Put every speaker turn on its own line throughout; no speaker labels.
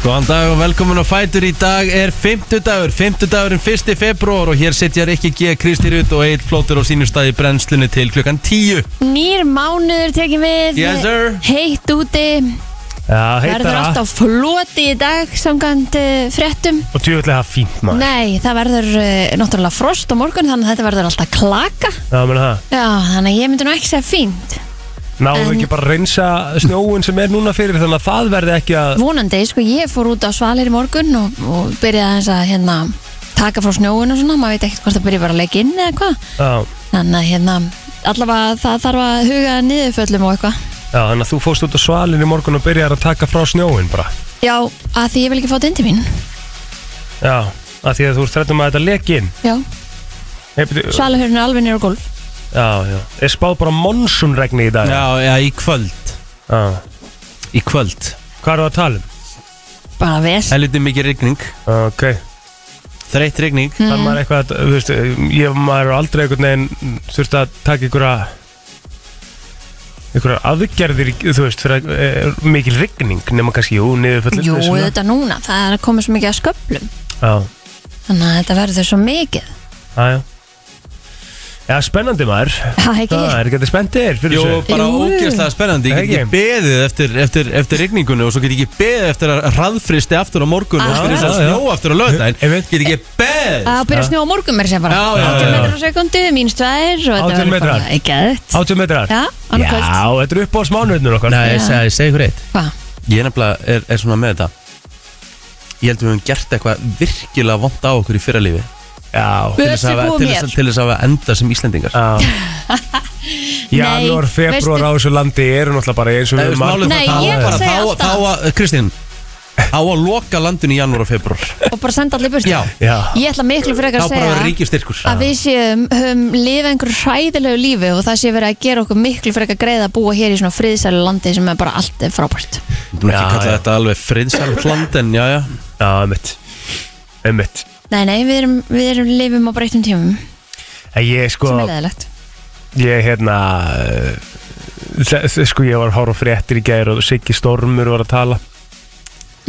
Góðan dag og velkomin á Fætur í dag er 50 dagur, 50 dagurinn 1. februar og hér setjar ekki G. Kristi Rut og Egil Flóttur á sínum staði brennslunni til klukkan 10
Nýr mánuður tekið við
Yes, sir.
Heitt úti
Já,
Verður
heitar
allt á
það
floti í dag Samkvæmt uh, fréttum
Og tjóðlega fínt maður
Nei, það verður uh, náttúrulega frost á morgun Þannig að þetta verður alltaf klaka
Já, menna það
Já, þannig að ég myndi nú ekki segja fínt
Náum við
En-
ekki bara að reynsa snjóun sem er núna fyrir Þannig að það verði ekki að
Vonandi, sko, ég fór út á svalir í morgun Og, og byrjaði aðeins að hérna Taka frá snjóun og svona Maður veit ekkert hvort það byrja bara að leggja inn eða hvað
Já,
Þannig að hérna Allavega það þarf að huga að niðurföllum og eitthvað
já þannig að þú fórst út á svalin í morgun og byrjar að taka frá snjóun bara
Já, að því ég vil ekki fá þetta inn til mín
Já, að því að þú ert þrættum að þetta leki inn
Já,
Nei, byrju-
svalahörun er alveg nýra á gólf
Já, já Er spáð bara monsunregni í dag
Já, já, í kvöld
já.
Í kvöld
Hvað er það að tala um?
Bara vel
Helviti mikið rigning,
Ok,
þreytt rigning
það
Mhm.
er maður eitthvað að, þú veist, ég maður er aldrei einhvern veginn þurft að taka einhverja einhverjar aðgerðir, í- þú veist, fyrir að eh, mikil rigning, nema kannski, jú, niður föllir
Jú, þetta núna, það er að koma svo mikið að sköplum
Já,
Þannig að þetta verður svo mikið
já, já Já, spennandi maður
Ha, ekki?
Það er ekki þetta spenntir fyrir
Jó,
þessu
bara
Jú.
ógeðslega spennandi Ég get
Ekki.
ekki beðið eftir, eftir, eftir rigningunni og svo get ég ekki beðið eftir að hraðfristi aftur á morgun og
Ah.
fyrir þess að
Já, já.
snjó aftur á lögdæn
Einmitt.
Get ekki beðið
Að byrja að snjóa á morgun mér sem bara
Já, já,
18
já, já.
metrar á sekundu, mínus 2 og þetta
18
verður bara
metrar.
ekki að þetta
80
Já,
metrar já
annað kvöld
þetta er upp á smánutnur okkar
Nei, ég segi- ég segi ykkur eitt
Hva?
Ég nefnilega er, er svona með þetta Ég held að við höfum gert eitthvað virkilega vond á okkur í fyrralífi
Já,
Bö-
til þess að,
Össur búa
til þess
mér.
að, til þess að enda sem Íslendingar
já Janúar, februar á
veistu-
þessu landi eru náttúrulega bara eins og
Nei,
við
veist, málið
marg-
það-
Nei,
það
ég
var bara-
segi
þá-
alltaf.
Þá að, Kristín Á að loka landinu í janúar og februar
Og bara senda allir í burtu
Já,
Já,
Ég ætla miklu frekar
þá
að
bara verður
segja
ríkistyrkur
að við séum, höfum lifa einhverju hræðilegu lífi og það sé verið að gera okkur miklu frekar greið að búa hér í svona friðsælu landi sem er bara allt er frábært
Þú mér ekki
Já,
kalla
já.
þetta alveg friðsælt land En já, já
já, mitt Mitt
Nei, nei, við erum, við erum lifum á breyttum tímum
Ég sko,
sem er leðilegt
ég hérna eh, þe- þe- Sko, ég var að horfa á fréttir í gær og Siggi Stormur var að tala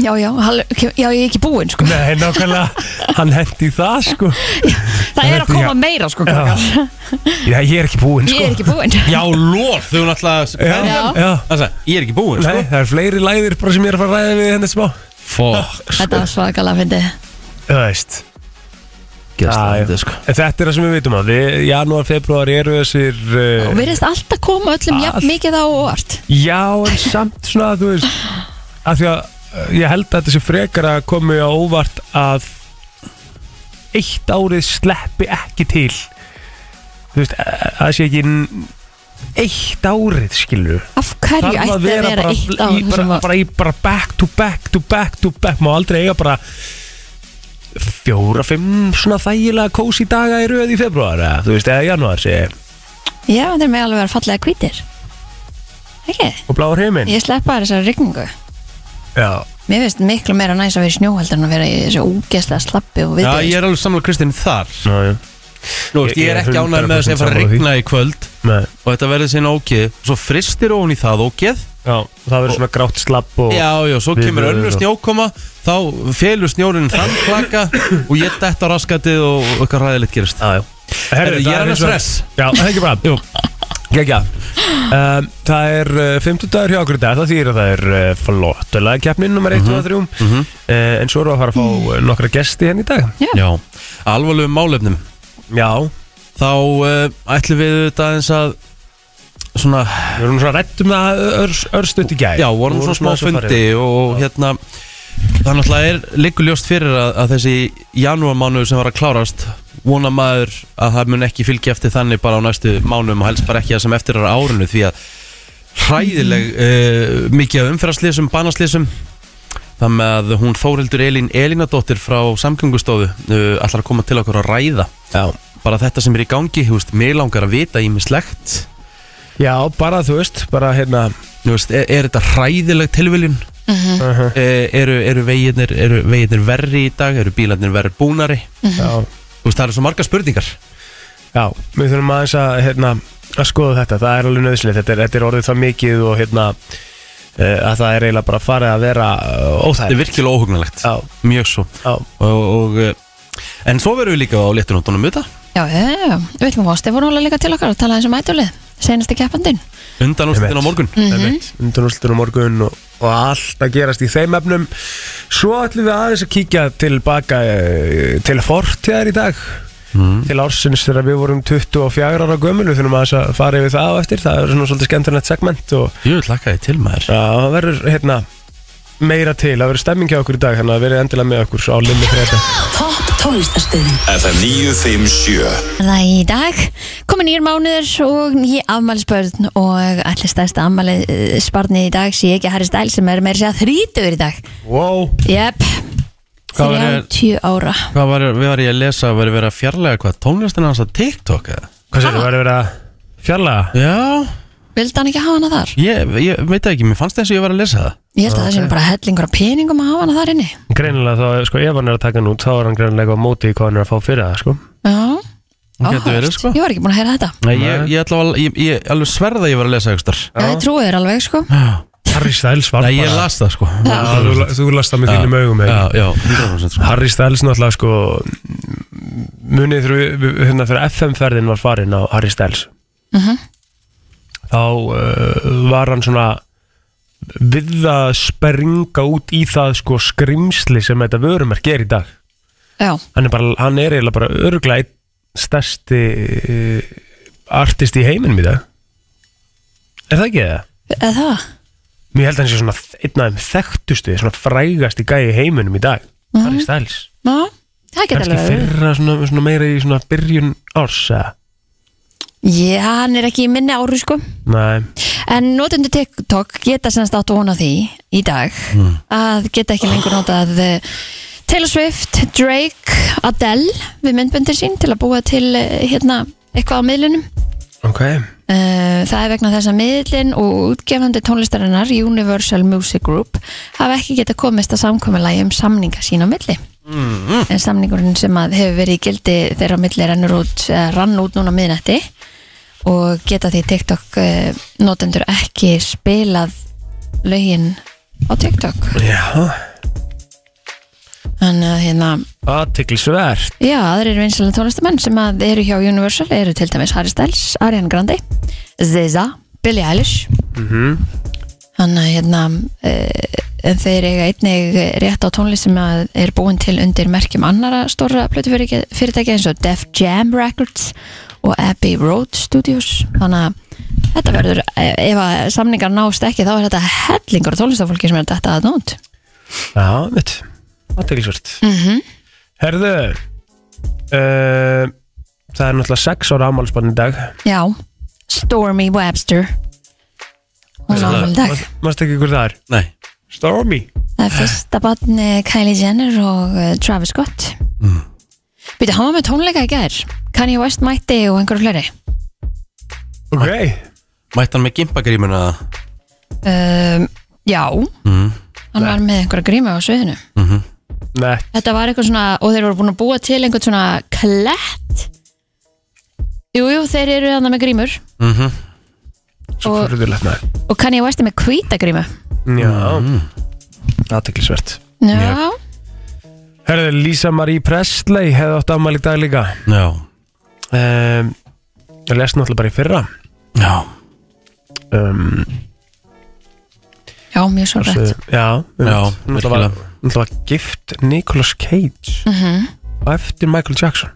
Já, já, hall, já, ég er ekki búinn sko.
Nei, nákvæmlega, hann hendi það sko
Það er að koma
Já.
meira sko,
Já,
krakkar.
Já, ég er ekki búinn
Ég
sko
er ekki búinn
Já, lór, þau hún alltaf
Já, já
Það sagði, ég er ekki búinn,
Nei,
sko
það er fleiri læðir bara sem ég er að fara að ræða við henni smá
Fokk,
Þetta var svakalega fyndið
Þú veist Já, já.
gæst sko
En þetta er það sem við vitum að við, janúar, februar eru þessir
Og
uh,
virðist alltaf koma öllum
Allt.
jafn mikið á óvart
Já, en samt svona, þú veist að Því að uh, ég held að þetta sé frekar að komi á óvart að eitt árið sleppi ekki til Þú veist, að að það sé ekki n- eitt árið, skilur
Af hverju ætti að vera,
bara,
eitt á
í, bara,
var...
bara, í, bara back to back to back to back Má aldrei eiga bara fjóra, fimm svona þægilega kósi daga í röð í februar eða, Þú veist, eða januar segi ég.
Já, þeir með alveg vera fallega hvítir Ekki,
og bláur heiminn
ég sleppa þér þessari rigningu
Já,
Mér finnst miklu meira næs að vera í snjó heldur en að vera í þessu ógeðslega slappi og
Já,
viðbjóðis.
ég er alveg samlega Kristín þar
já, já
Nú, veist, ég er
Ég er
ekki ánægð með að segja fara að
100%
rigna í kvöld
Nei.
Og þetta verður sinna ógeð Svo fristir ofan í það ógeð
Já, og það verður svona grátt slapp og
Já, já, svo
Við-
kemur
við-
önnur
við-
snjókoma Þá felur snjórinn þann klaka Og ég dett á raskatið og og eitthvað ræðilegt gerist
já, já.
Herðu, ég
það
er annars
eins og-
hress.
Já, það er ekki bara, jú Gekja um, Það er uh, 50 dagur hjá okkur í dag Það þýr að það er uh, flottulega keppnin Númer 1 og 3 uh, En svo erum við að fara að fá mm. nokkra gesti henni í dag
Já, alvarlegum málefnum
Já,
Þá uh, ætlum við þetta eins að Svona,
við erum svona rætt um það ör, örstutt í gæð
já, vorum svona smá fundi Og hérna Það náttúrulega er ligguðljóst fyrir að, að þessi janúarmánuður sem var að klárast vona maður að það mun ekki fylgja eftir þannig bara á næstu mánuðum og helst bara ekki það sem eftir er á árinu því að hræðileg uh, mikið af umferðarslýsum, banaslýsum það með að hún Þórildur Elín Elínadóttir frá samgöngustofu uh, ætlar að koma til okkur að ræða
Já.
bara þetta sem er í gangi, þú veist, mig langar að vita ímislegt,
Já, bara þú veist, bara hérna
þú veist, er, er þetta hræðileg tilviljun
uh
uh, eru, eru, veginir, eru veginir verri í dag, eru bílarnir verri búnari
Já
þú veist, það eru svo margar spurningar
Já, við þurfum aðeins að, hérna, að skoða þetta, það er alveg nöðslega, þetta, er- þetta er orðið það mikið og hérna, að það er eiginlega bara farið að vera uh,
Þetta er
óþægilegt
virkilega óhugnalegt
Já,
Mjög svo
já,
og, og, eh, En svo verðum við líka á léttunóttunum auðvitað
Já, já, já, já. Við ætlum að fá Stefán Óla líka til okkar og tala eins um ætulið, senast í keppandinn.
Undan úrstættin á morgun
einmitt, undanúrslitin á morgun og, og allt að gerast í þeim efnum Svo ætlum við aðeins að kíkja tilbaka eh, til fortíðar í dag
mm.
til ársins þegar við vorum 24 ára gömulu þurfum aðeins að fara yfir það á eftir það er svona svolítið skemmtunett segment og
Ég vil laka þið til maður
já, það verður hérna meira til, það verður stemming hjá okkur í dag þannig að verið endilega með okkur á limmi þreita
Topp tónlistarstöðin
FM 957
Það í dag komið nýjur mánuður og nýjir afmælisbörn og allir stærsta afmælisbarni í dag sé ekki Harry Styles sem er meira að segja þrítur í dag.
wow.
Jöp,
Hvað var-
30 ára.
Hvað var, við var ég að lesa, var ég verið að fjarlæga hvað tónlistin hans að TikTok eða?
Hvað sér, það verður verið að fjarlaga?
Já,
Vildi hann ekki hafa hana þar?
ég, ég veit það ekki, mér fannst þess að ég var að lesa það
Ég held að það sem bara hellingur af peningum um að hafa hana þar inni.
Greinilega þá, sko, ef hann er að taka hann út þá er hann greinilega á móti í hvað hann er að fá fyrir það, sko
Já,
Hún getur verið,
áhugavert.
sko.
Ég var ekki búin að heyra þetta.
Nei, ég, ég, ætla að, ég, ég alveg sverða að ég var að lesa ekstar
Já, ég trúi þér alveg, sko.
Harry Styles var
Nei, ég las það sko
Já, þú, þú last það með þínum augum
Já,
ekki?
já, 100% sko
Harry Styles náttúrulega, sko munið þegar við- við- hérna, þegar FM-ferðin var farin á Harry Styles
Mhm.
þá uh, var hann svona við að springa út í það sko skrimsli sem þetta vörumark er í dag
Já,
hann er, bara, hann er eiginlega bara örglega einn stærsti uh, artist í heiminum í dag er það ekki það?
eða það?
Mér held að hann sé svona einn af þeim þekktustu svona frægasti gæi í heiminum í dag Harry Styles
Já, það geta
kannski
alveg verið.
fyrra svona, svona meira í svona byrjun árs eða?
Já, hann er ekki í minni áru, sko.
Nei,
En notendur TikTok geta semst átt vona því í dag að geta ekki lengur notað eh, Taylor Swift, Drake, Adele við myndböndir sín til að búa til eh, hérna eitthvað á miðlunum.
ok
Eh, Það er vegna þess að miðlinn og útgefandi tónlistarinnar Universal Music Group hafa ekki geta komist að samkominlægi um samninga sín á milli. En samningurinn sem að hefur verið í gildi þeirra á milli rennur út, eh, rann út núna á miðnætti og geta því TikTok eh, notendur ekki spilað lögin á TikTok.
Já,
Þannig að hérna,
aðtiklisvert
já, aðrir vinslega tónlistamenn sem að eru hjá Universal eru til dæmis Harry Styles, Ariana Grande, ZZA, Billie Eilish.
Mhm.
Þannig að hérna, eh, en þeir eiga einnig rétt á tónlist sem að er búin til undir merkjum annara stóra plötufyrirtæki eins og Def Jam Records og Abbey Road Studios. Þannig að þetta verður, eh, ef að samningar nást ekki þá er þetta hellingur af tónlistafólki sem er þetta að nót.
Já, mitt, aðtiklisvert
Mm -hmm.
Herðu uh, Það er náttúrulega sex ára ámálsbann í dag
Já, Stormy Webster. Hún á
Veistu
afmæli í dag.
Mást ekki hver það er?
Nei,
Stormy
Það er fyrsta barn eh, Kylie Jenner og eh, Travis Scott mm. Býtu, hann var með tónleika í gær Kanye West mætti og einhverju fleiri
Ok
mætti hann með gimpagrímuna
um, Já,
mm.
hann var með einhverja gríma á sviðinu
Nei,
Þetta var eitthvað svona, og þeir voru búin að búa til einhvern svona klett Jú, jú, þeir eru þannig með grímur
mm -hmm.
svo
Og-
fyrirlegt með
og Kanye West er með hvítagrímu
Já, aðtiklisvert
Já,
Herðu, Lisa Marie Presley hefði átt ámæli í dag líka
Já,
um, Ég lest náttúrulega bara í fyrra
já
um,
já, mjög svo rætt
þessu- Já,
Já,
einmitt. Hún náttúrulega var,
virkilega.
náttúrulega var gift Nicolas Cage
mm -hmm.
og eftir Michael Jackson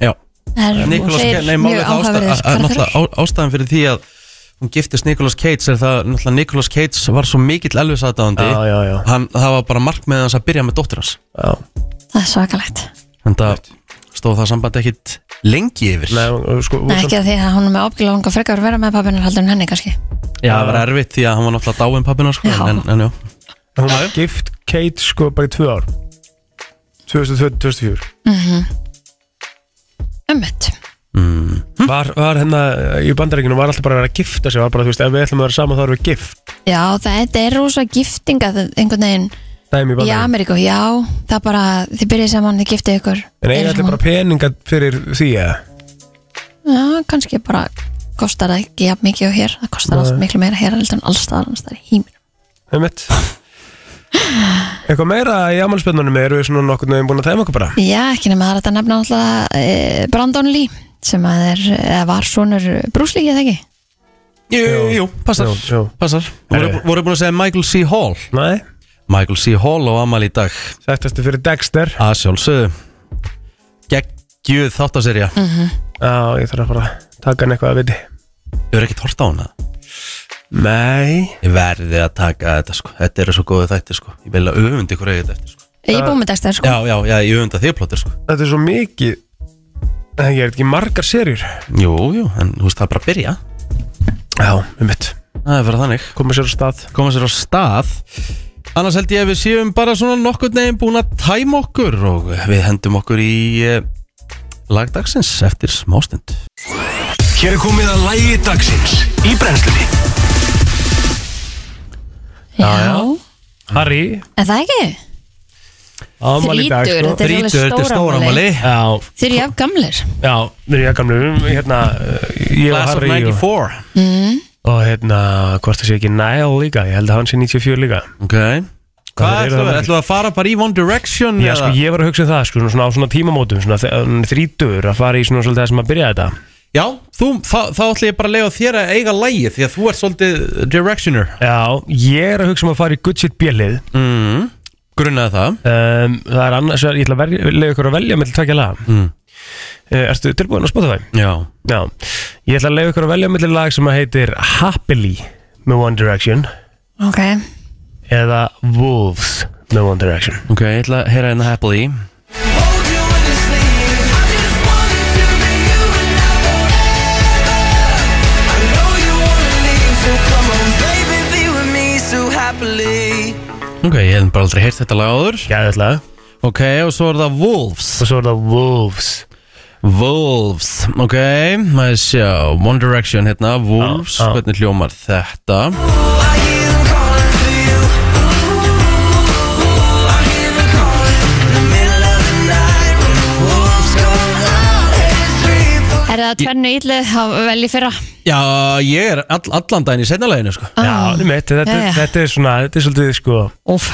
Já,
Það er
Nikolas
þeir
Cage, nei, málið
mjög
er það ásta-
áhugaverðir
að- að
karakterar.
náttúrulega á- ástæðan fyrir því að hún giftist Nikolas Cage er það, náttúrulega Nikolas Cage var svo mikill Elvis aðdáðandi
Já, já, já,
hann, það var bara markmið hans að byrja með dóttir hans
já.
Það er svakalegt
en það stóð það samband ekkit lengi yfir
Nei, og sko,
Nei, ekki að því að hún er með ábyggilega unga frekar að vera með pappinar heldur en henni kannski.
Já, það var erfitt því að hann var náttúrulega dáin pappina sko,
Já.
en, en já,
Hún var gift Kate sko bara í tvö ár 2002-2004
Mhm. Ömmett.
mm.
var, var hennar í bandaríkinu var alltaf bara að vera að gifta sig var bara, þú veist, ef við ætlum að vera saman þá erum við gift
Já, þetta er rosa giftinga það- einhvern veginn
dæmi í
í
bandaríkinu
Ameríku. Já, það er bara, þið byrjið saman, þið giftið ykkur.
en
Eru
eiginlega
saman.
bara peninga fyrir því eða
Já, kannski bara kostar það ekki jafn mikið og hér það kostar allt miklu meira hér heldur en alls staðar annars staðar í híminum
Einmitt. Eitthvað meira í afmælisbjörnunum eru við svona nokkurnu búin að tæma okkur bara
Já, ekki nema það er þetta nefna alltaf e, Brandon Lee sem að er, eða var sonur Bruce Lee, ég þekki
Jú, jú, passar,
Jú, jú.
passar. Voru,
Herri.
voru búin að segja Michael C. Hall
Nei,
Michael C. Hall á amal í dag
sættastu fyrir Dexter
að sjálfsögðu geggjuð þáttaserja mm.
Já, ég þarf að fara að taka hann eitthvað að viti
Þau eru ekkert hort á hana
Nei
Ég verði að taka þetta sko Þetta eru svo góðu þættir sko Ég vil að öfund ykkur eigið eftir sko
Ég er búin með dagstæðar sko
Já, já, já, ég öfunda þig plóttir sko
Þetta er svo mikið Nei, ég er ekki margar serjur
Jú, jú, en þú veist það er bara að byrja
Já, um mitt
Það er bara þannig
Komið sér á stað
Koma sér á stað Annars held ég að við séum bara svona nokkurn veginn búin að tæma okkur og við hendum okkur í eh, lagdagsins eftir smástund
Hér er komið að lægi dagsins í brennslunni
Já,
Harry
en það ekki
Afmæli í dag
Þrítugur,
sko
þetta er alveg
Þrítugur, þetta er
stóra
stóramali
máli
Já,
Þeir eru jafn gamlir
já Þeir eru ég gamlu Hérna, uh, ég og
Class of
Harry og,
94
og hérna, hvort það sé ekki Nile líka Ég held að hann sé 94 líka
Ok Hvað
þeir
ætlum
eru það
við?
margir.
Ætlum við að fara bara í One Direction?
Já, sko, ég var að hugsa um það, sko, svona- svona á svona tímamótum, svona þrítur að fara í svona svolítið það sem að byrja þetta.
Já, þú, þá, þá ætlum ég bara að lega þér að eiga lægi því að þú ert svolítið directioner
Já, ég er að hugsa um að fara í Good Shit Bjellið.
mm. Grunnaði það
Um, það er annars, ég ætla að verja- leyfa ykkur að velja mellir tvekja laga.
Mm.
Uh, ertu tilbúin að spota það?
Já
Já, ég ætla að leiða ykkur að velja mellir lag sem að heitir Happily með One Direction
Ok,
eða Wolves með One Direction.
Ok, ég ætla að heyra hérna happily Ok, ég hef bara aldrei heyrt þetta lag áður
Gæðið
Ok, og svo er það Wolves
og svo er það Wolves.
Wolves, ok, maður sjá One Direction hérna, Wolves,
Já, já.
hvernig hljómar þetta
er það tvennu illu að velja í fyrra?
Já, ég er all, allan daginn í setna læginu sko
Já, um eitt, þetta,
Jæja.
þetta er svona, þetta er svolítið sko,
Úf,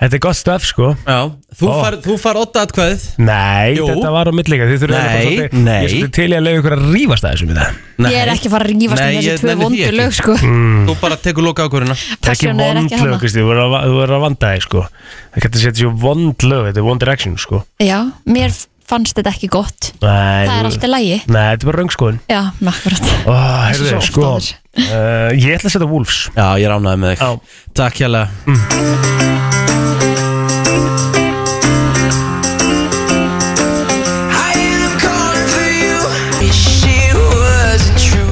þetta er gott stöf sko.
Já, þú
Ó.
far, þú far otta atkvæðið
Nei,
Jú.
þetta var á millinga Þið þurfum
Nei,
bara svolítið-
nei.
Ég svolítið til ég að leiða ykkur að rífast að þessum í það
ég er ekki að fara að rífast
Nei,
um þessi
ég
tvö
nenni því
vondu
ekki. Mm,
lög sko
Þú bara tekur loka ákvörðina
Ekki
Passion er ekki hana
vondlög, Kristi, þú verður að- þú verður að vanda þig sko Það getur setja sér vondlög, þetta er One Direction sko
Já, mér fannst þetta ekki gott Það
Nei,
er
þú-
alltaf lægi
Nei, þetta er bara röngskoðun
Já, makkurat
Ó, heyrðu,
svo oft
sko
áður.
uh, Ég ætla að setja Wolves
Já, ég ránaði með þig
Já.
Takk hérlega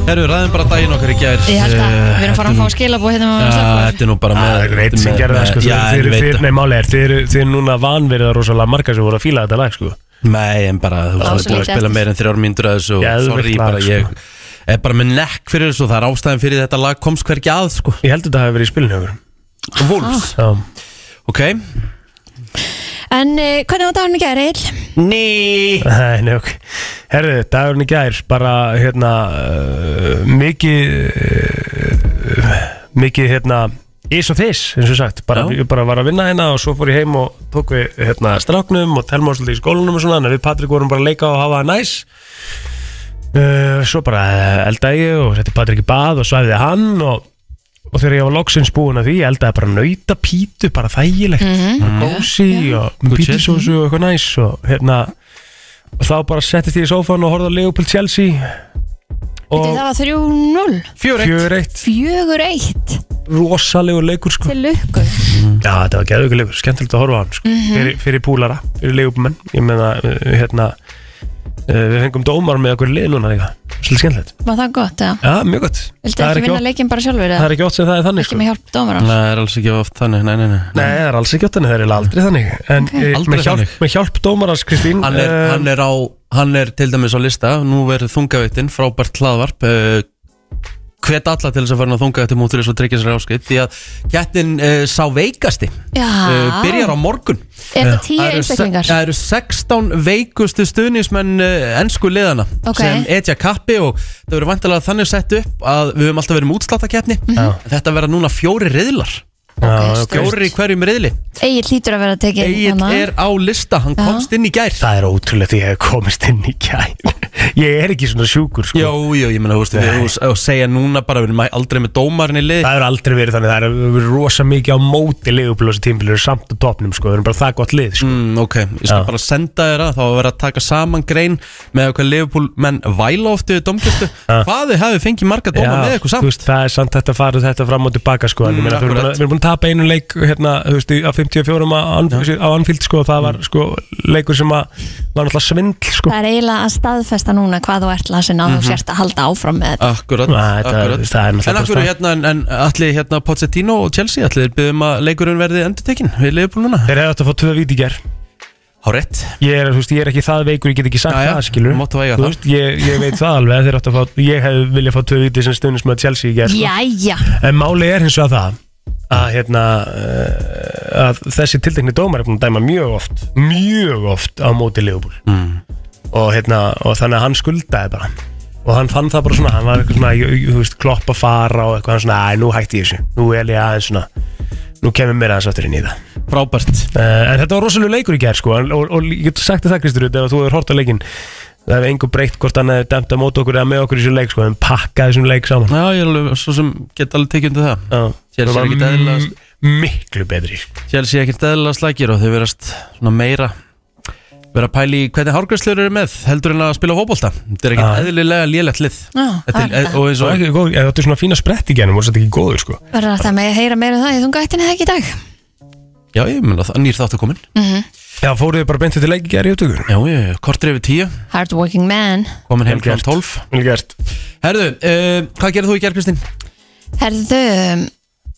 Herru, ræðum bara daginn okkar í gær Eh,
Ég held að við erum farin að fá skilabóð hérna
Já,
með slökkvaður.
þetta er nú bara með
Það Ah, er greitt sem
Ah, með-
gerði það
með-
sko
Já,
Þið
ég
eru-
veit
þið-
það
Nei, máli er, þið eru- þið eru núna vanverið að rosalega marga sem voru að fíla þetta lag sko
Nei, en bara, þú
Það
veist, þú búin
var svo
að
lítið
spila
eftir.
meir en þrjár mínútur að þessu og
Geðveikt
Sorry,
lag,
bara
sko.
ég er bara með nekk fyrir þessu og það er ástæðan fyrir þetta lag komst hvergi að, sko
Ég heldur þetta hafi verið í spilinu okkur
Ah.
Wolves,
Já,
ok?
En uh, hvernig var dagurinn í gæri, Eil?
Ný
Nei, nei, ok Herðu, dagurinn í gær bara, hérna, uh, mikið uh, mikið, hérna is og þess, eins og sagt bara,
Já.
ég bara var að vinna hérna og svo fór ég heim og tók við, hérna, stráknum og telma og svolítið í skólanum og svona, en við Patrik vorum bara að leika og hafa það næs uh, svo bara eh, eldaði ég og setti Patrik í bað og svæfiði hann og og þegar ég var loksins búin að því ég eldaði bara nauta pítu, bara þægilegt mm -hmm. gósi og
Good shit.
pítusósu og eitthvað næs og hérna og þá bara settist ég í sófan og horfði á Leopold Chelsea
Það
og
var 3-0
Fjör eitt
fjör eitt
4-1
rosalegur leikur sko
til lukku
já þetta var geðvöku leikur, skemmtilegt að horfa á hann sko.
Mhm.
fyrir, fyrir púlara, fyrir leikumenn ég meina uh, hérna uh, við fengum dómar með okkur lið núna líka svolítið skemmtilegt,
Var það gott, eða?
já mjög gott
Viltu
það er
ekki
ekki,
vinna
oft,
leikinn bara sjálfur,
það er
eða?
ekki oft sem það er þannig
Ekki
sko.
með hjálp dómar
Nei, það er alls ekki oft þannig, nei, nei, nei
Nei, það er alls ekki þannig, það er aldrei þannig En
Ok.
eh,
Aldrei
með, hjálp,
þannig.
með hjálp dómarans Kristín
Hann er,
eh,
hann er á, hann er til dæmis á lista Nú verður þungaveitinn, frábært hlaðvarp uh, Eh, hvet alla til þess að fara inn á þunga eftir móturis og tryggja sér áskrift því að kettin uh, sá veikasti
Já.
uh, byrjar á morgun
Er það Ah. tíu
Það eru se-
einstaklingar?
Það eru 16 veikustu stuðnismenn uh, ennsku liðana
Ok.
sem etja kappi og það verður vantilega þannig sett upp að við höfum alltaf verið með útsláttakeppni
Mhm.
En Þetta verða núna fjóri riðlar
Ok, stórt.
Fjóri í hverjum riðli
Egil hlýtur að vera hérna. tekið
Egil
hana.
er á lista, hann
Já.
komst inn í gær
Það er ótrúlega því að ég hef komist inn í gæn Ég er ekki svona sjúkur sko.
Jó, jó, ég meina, þú veist, við og segja núna bara við erum aldrei með dómarinn í lið
Það hefur aldrei verið þannig, það hefur verið rosa mikið á móti liðuplösa tímbilir samt á topnum sko, það er bara það gott lið sko.
Mm, ok, ég skal
Já.
bara senda þér að þá að vera að taka saman grein með hvað Liverpool menn væla oft við domgjöftu hvað þið hafið fengið marga dóma með eitthvað
þú
samt
veist, það er samt þetta fara þetta fram og tilbaka sko, en
Mm,
ég meina, við erum búin að-
akkurat.
við erum búin að tapa einu leik hérna, þú veist, í- á 54 á, Anfield- á Anfield sko, það
Mm.
var sko leikur sem að var náttúrulega svindl sko.
Það er eiginlega að staðfesta núna hvað þú ert lasin að þú sért að halda áfram með þetta.
Akkurat,
Nei, þetta-
akkurat
það er náttúrulega
En
bara
akkurat
staðan.
hérna, en, en allir hérna Pochettino og Chelsea, allir byggðum um að leikurinn verði endurtekinn við Liverpool núna
Þeir hefði átt að fá tvö víti í gær
Hárett,
ég er, þú veist, ég er ekki það veikur, ég get ekki sagt
Jæja,
það skilur
máttu eiga
Þú
það.
veist, ég, ég veit það alveg að þeir áttu að fá, ég hef viljað fá tvö viti sem stundum sem að Chelsea í sko. gerð
Jæja,
en máli er hins vegar það að, hérna, eh, að þessi tiltekni dómar er búin að dæma mjög oft mjög oft á móti Leopold mm. og, hérna, og þannig að hann skuldaði bara og hann fann það bara svona hann var eitthvað svona, jú- jú- þú veist, klopp að fara og eitthvað hann svona, æ, nú hætti ég þessu nú er ég aðeins svona, nú kemur mér aðeins aftur inn í það
frábært
Uh, en þetta var rosalega leikur í gerð sko, en- og, og ég get sagt þér það Kristur ef þú hefur hort á leikin það hefur engu breytt hvort hann hefur dæmt að móta okkur eða með okkur í þessu leik sko, en pakkaði þessum leik saman
Já, ég er alveg, svo sem get alveg tekið undir það
uh,
Chelsea er ekkert eðlilega-
miklu betri sko.
Chelsea er ekkert eðlilega slækir og þau verast svona meira vera að pæli í hvernig hárgræslegur eru með heldur en að spila fótbolta Þetta er ekkert
Já.
eðlilega lélegt lið
Já,
Þetta
það er
er,
þetta.
og eins
Svo
og
ekki góð, ef þetta er svona fína sprett í genum og þetta ekki góður sko
verður alltaf með að heyra meira um það í þungættinni eða ekki í dag?
Já, ég meina það, nýr þáttu komin
Já, fóruð þið bara beintið til leik í gerð í upptökur
Já, ég, kortir yfir tíu,
Hardworking man.
komin
Vel
heim kl.
gert.
12
Vel gert
Herðu, uh, hvað gerir þú í gerð, Kristín?
Herðu,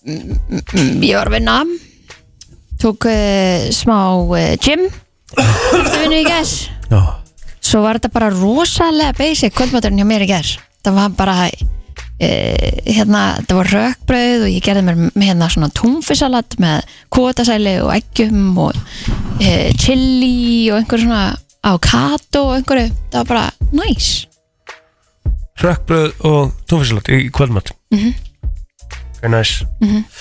mm, mm, mm, ég var að vinna, tók uh, smá uh, gym, eftir vinnu í gær.
Já,
Svo var þetta bara rosalega basic kvöldmaturinn hjá mér í gær. Það var bara, uh, hérna, það var rökbrauð og ég gerði mér m- hérna svona túnfisalat með kvotasæli og eggjum og uh, chili og einhver svona avocado og einhverju. Það var bara næs. Nice.
Rökkbröð og tónfisalat í kvöldmatt mm
Mhm.
-hmm. Ok, næs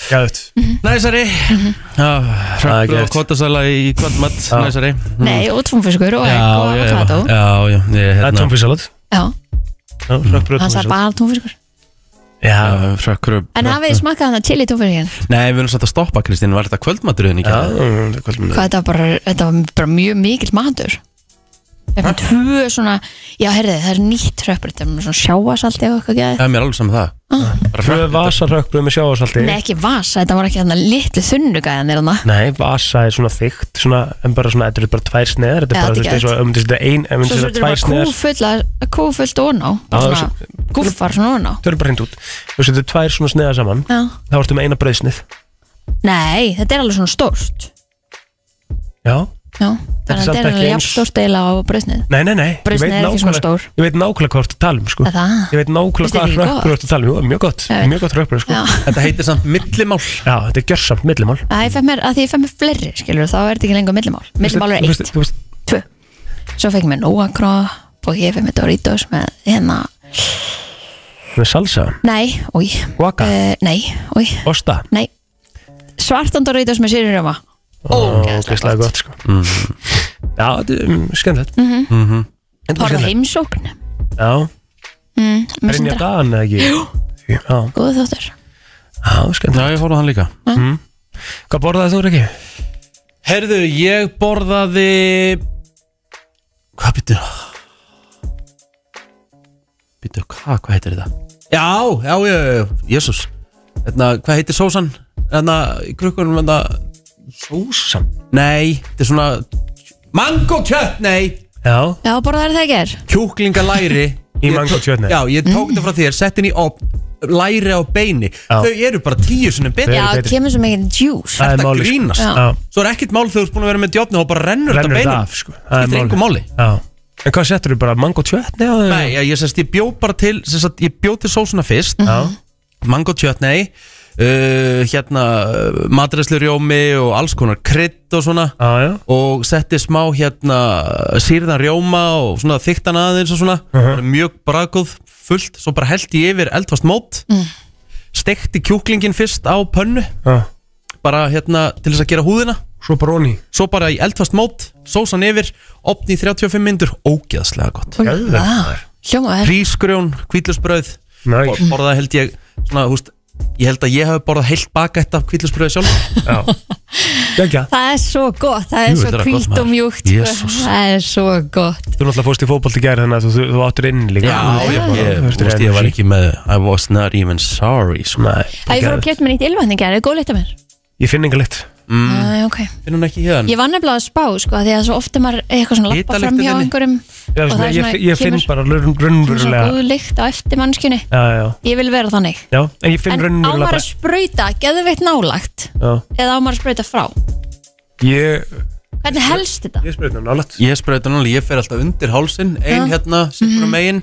Gæðut
næsari
Mhm.
Það er
Hrökkbröð og
gert.
kottasæla í kvöldmatt,
Já.
næsari
Nei, og túnfiskur og egg og
Mm. já,
avocado
já, já, ég,
Það er
hérna
tónfisalat
Já,
Rökkbröð
hann sagði
tónfisalat
bara túnfiskur
Já,
Hrökkbröð
En hafið þið smakkað hann að chili túnfiskinn
Nei, við erum satt að stoppa, Kristín, var þetta kvöldmaturinn í
já,
gerð?
það er kvöldmatur
Hvað þetta var bara, þetta var bara mjög mikill matur Eitthvað tvö svona Já, herrið, það er nýtt hröppur Þetta er með svona sjáasalti og eitthvað geði
Já, mér er alveg saman það Bara
Tvö
hrökkbrauð.
vasarökkbröð með sjávarsalti
Nei, ekki vasa, þetta var ekki þannig litlu þunnu gæðan er hann
Nei, vasa er svona þygt svona, en bara svona, þetta eru bara tvær sneðar þetta
Já,
er bara,
þetta
þú
er
veist, eins og um þetta ein en
Svo
þetta
svo
eru
þetta
tvær
var
sneðar
kúfull að- kúfullt ofan á
Já,
Bara svona Gúffar svona ofan á
þau eru bara hreint út þú veist, þetta eru tvær svona sneðar saman
Já.
þá ertu með eina brauðsnið
Nei, þetta er alveg svona stórt
Já,
Já, þannig að þetta er
samt ekki
alveg
eins-
jafn stórt eila á bröðsnið
nei, nei, nei ég
Brauðsneið
veit
er ekki svona
nákvæmlega-
stór.
ég veit nákvæmlega hvað ertu að tala um sko.
Er það?
ég veit nákvæmlega
Finnst þér
hvað
ekki gott?
rökkbröð ertu að tala um Jú, mjög gott,
Já, ég veit.
mjög gott rökkbröð sko.
Já
Þetta heitir samt millimál
Já, þetta er gjörsamt millimál
að ég fekk mér, að því ég fekk mér fleiri skilur, þá er þetta ekki lengur millimál millimál er
Þú veist,
eitt,
þú veist,
tvö svo fekk ég mér Nóa Kropp og ég fekk mér Doritos með hérna,
með salsa,
nei, új
Waka.
nei, új,
osta
nei svartan Doritos með sérurjóma
ógeðslega gott sko. Já, þetta er mm, skemmtilegt
Mhm.
Mhm.
Þetta er
horfa
skemmtilegt.
heimsókn
Já,
mm, með
Brynja
sindra,
Dan, eða ekki? Já,
góðu þóttur
já, skemmtilegt
Já, ég horfði á hann líka
Hvað borðaði þú, Rikki?
Herðu, ég borðaði Hvað býttu? Býttu, hvað, hvað heitir þetta? Já, já, já, já, já, jésús Hérna, hvað heitir sósan? Hérna, í krukkunum, hérna
Ósam
Nei, þetta er svona Mango kjött, nei
Já,
já, borða þær það ekki er
Kjúklingalæri Ég
Í mango
tók-
kjötnei.
Já, ég tók þetta frá þér, sett henni á læri á beini
Já.
Þau eru bara tíu sinni betri
já,
eru betri.
kemur svo mikið djús
það er
Þetta
máli sko.
grínast
Já.
Já,
Svo er ekkert mál þegar þú ert búin að vera með djófni og bara rennur þetta
rennur
beinum
þetta af sko Það er
Skiptir engu máli.
Já, En hvað settur þú bara mango tjötni á þau?
Nei, ég, ég, sest, ég bjó bara til sest, að, Ég bjó til sósuna fyrst
Já.
Mango tjötnei uh, Hérna matræslu rjómi Og alls konar krydd og svona
Já, já.
Og setti smá hérna Sýrðan rjóma og svona þyktan aðeins Og svona,
Mhm.
mjög braguð Fullt, svo bara held ég yfir eldfast mót mm. Stekti kjúklingin fyrst á pönnu
já.
Bara hérna til þess að gera húðina
Svo bara onni.
Svo bara í eldfast mót, sósan yfir Opni í 35 myndur, ógeðslega gott
Geðveikt, maður.
Hljóma vel
Rísgrjón, hvítlustbröð
Næ,
Bor- borðaði held ég svona, húst, ég held að ég hafi borðað heilt bakætt af kvítlustbröði sjálf
já. Gengja.
Það er svo gott, það er
Jú,
svo
þetta er gott,
kvílt og
maður.
mjúkt sko.
Jesús.
Það er svo gott
Þú náttúrulega fórst í fótbolt í gæri þannig að þú, þú, þú áttur inn líka.
Já,
ég,
já.
ég,
Þú
ég,
veist,
ég, ég var ekki með I was not even sorry sko.
Nei.
Það ég fór að kjöta mér nýtt ylvatni gerði, góð leitt að mér
Ég finn enga lykt.
mm,
Æ, ok.
finn hún ekki hérna
Ég var nefnilega að spá sko, því að svo ofta maður eitthvað svona lappa
Hitalyktin
fram hjá
inni.
einhverjum
Já,
og það
svona,
er
ég,
svona,
ég finn
kemur
bara raun-
svona
raunverulega.
góð lykt á eftir mannskjunni
Já, já.
Ég vil vera þannig
Já, en ég finn
En á
raunverulega
maður
bara...
að sprauta, geðveitt nálagt
Já.
eða á maður að sprauta frá
Ég,
Hvernig helst þetta?
ég spyrir hann nálægt.
ég sprauta núna, ég fer alltaf undir hálsin ein hérna,
Mhm.
sittur um eigin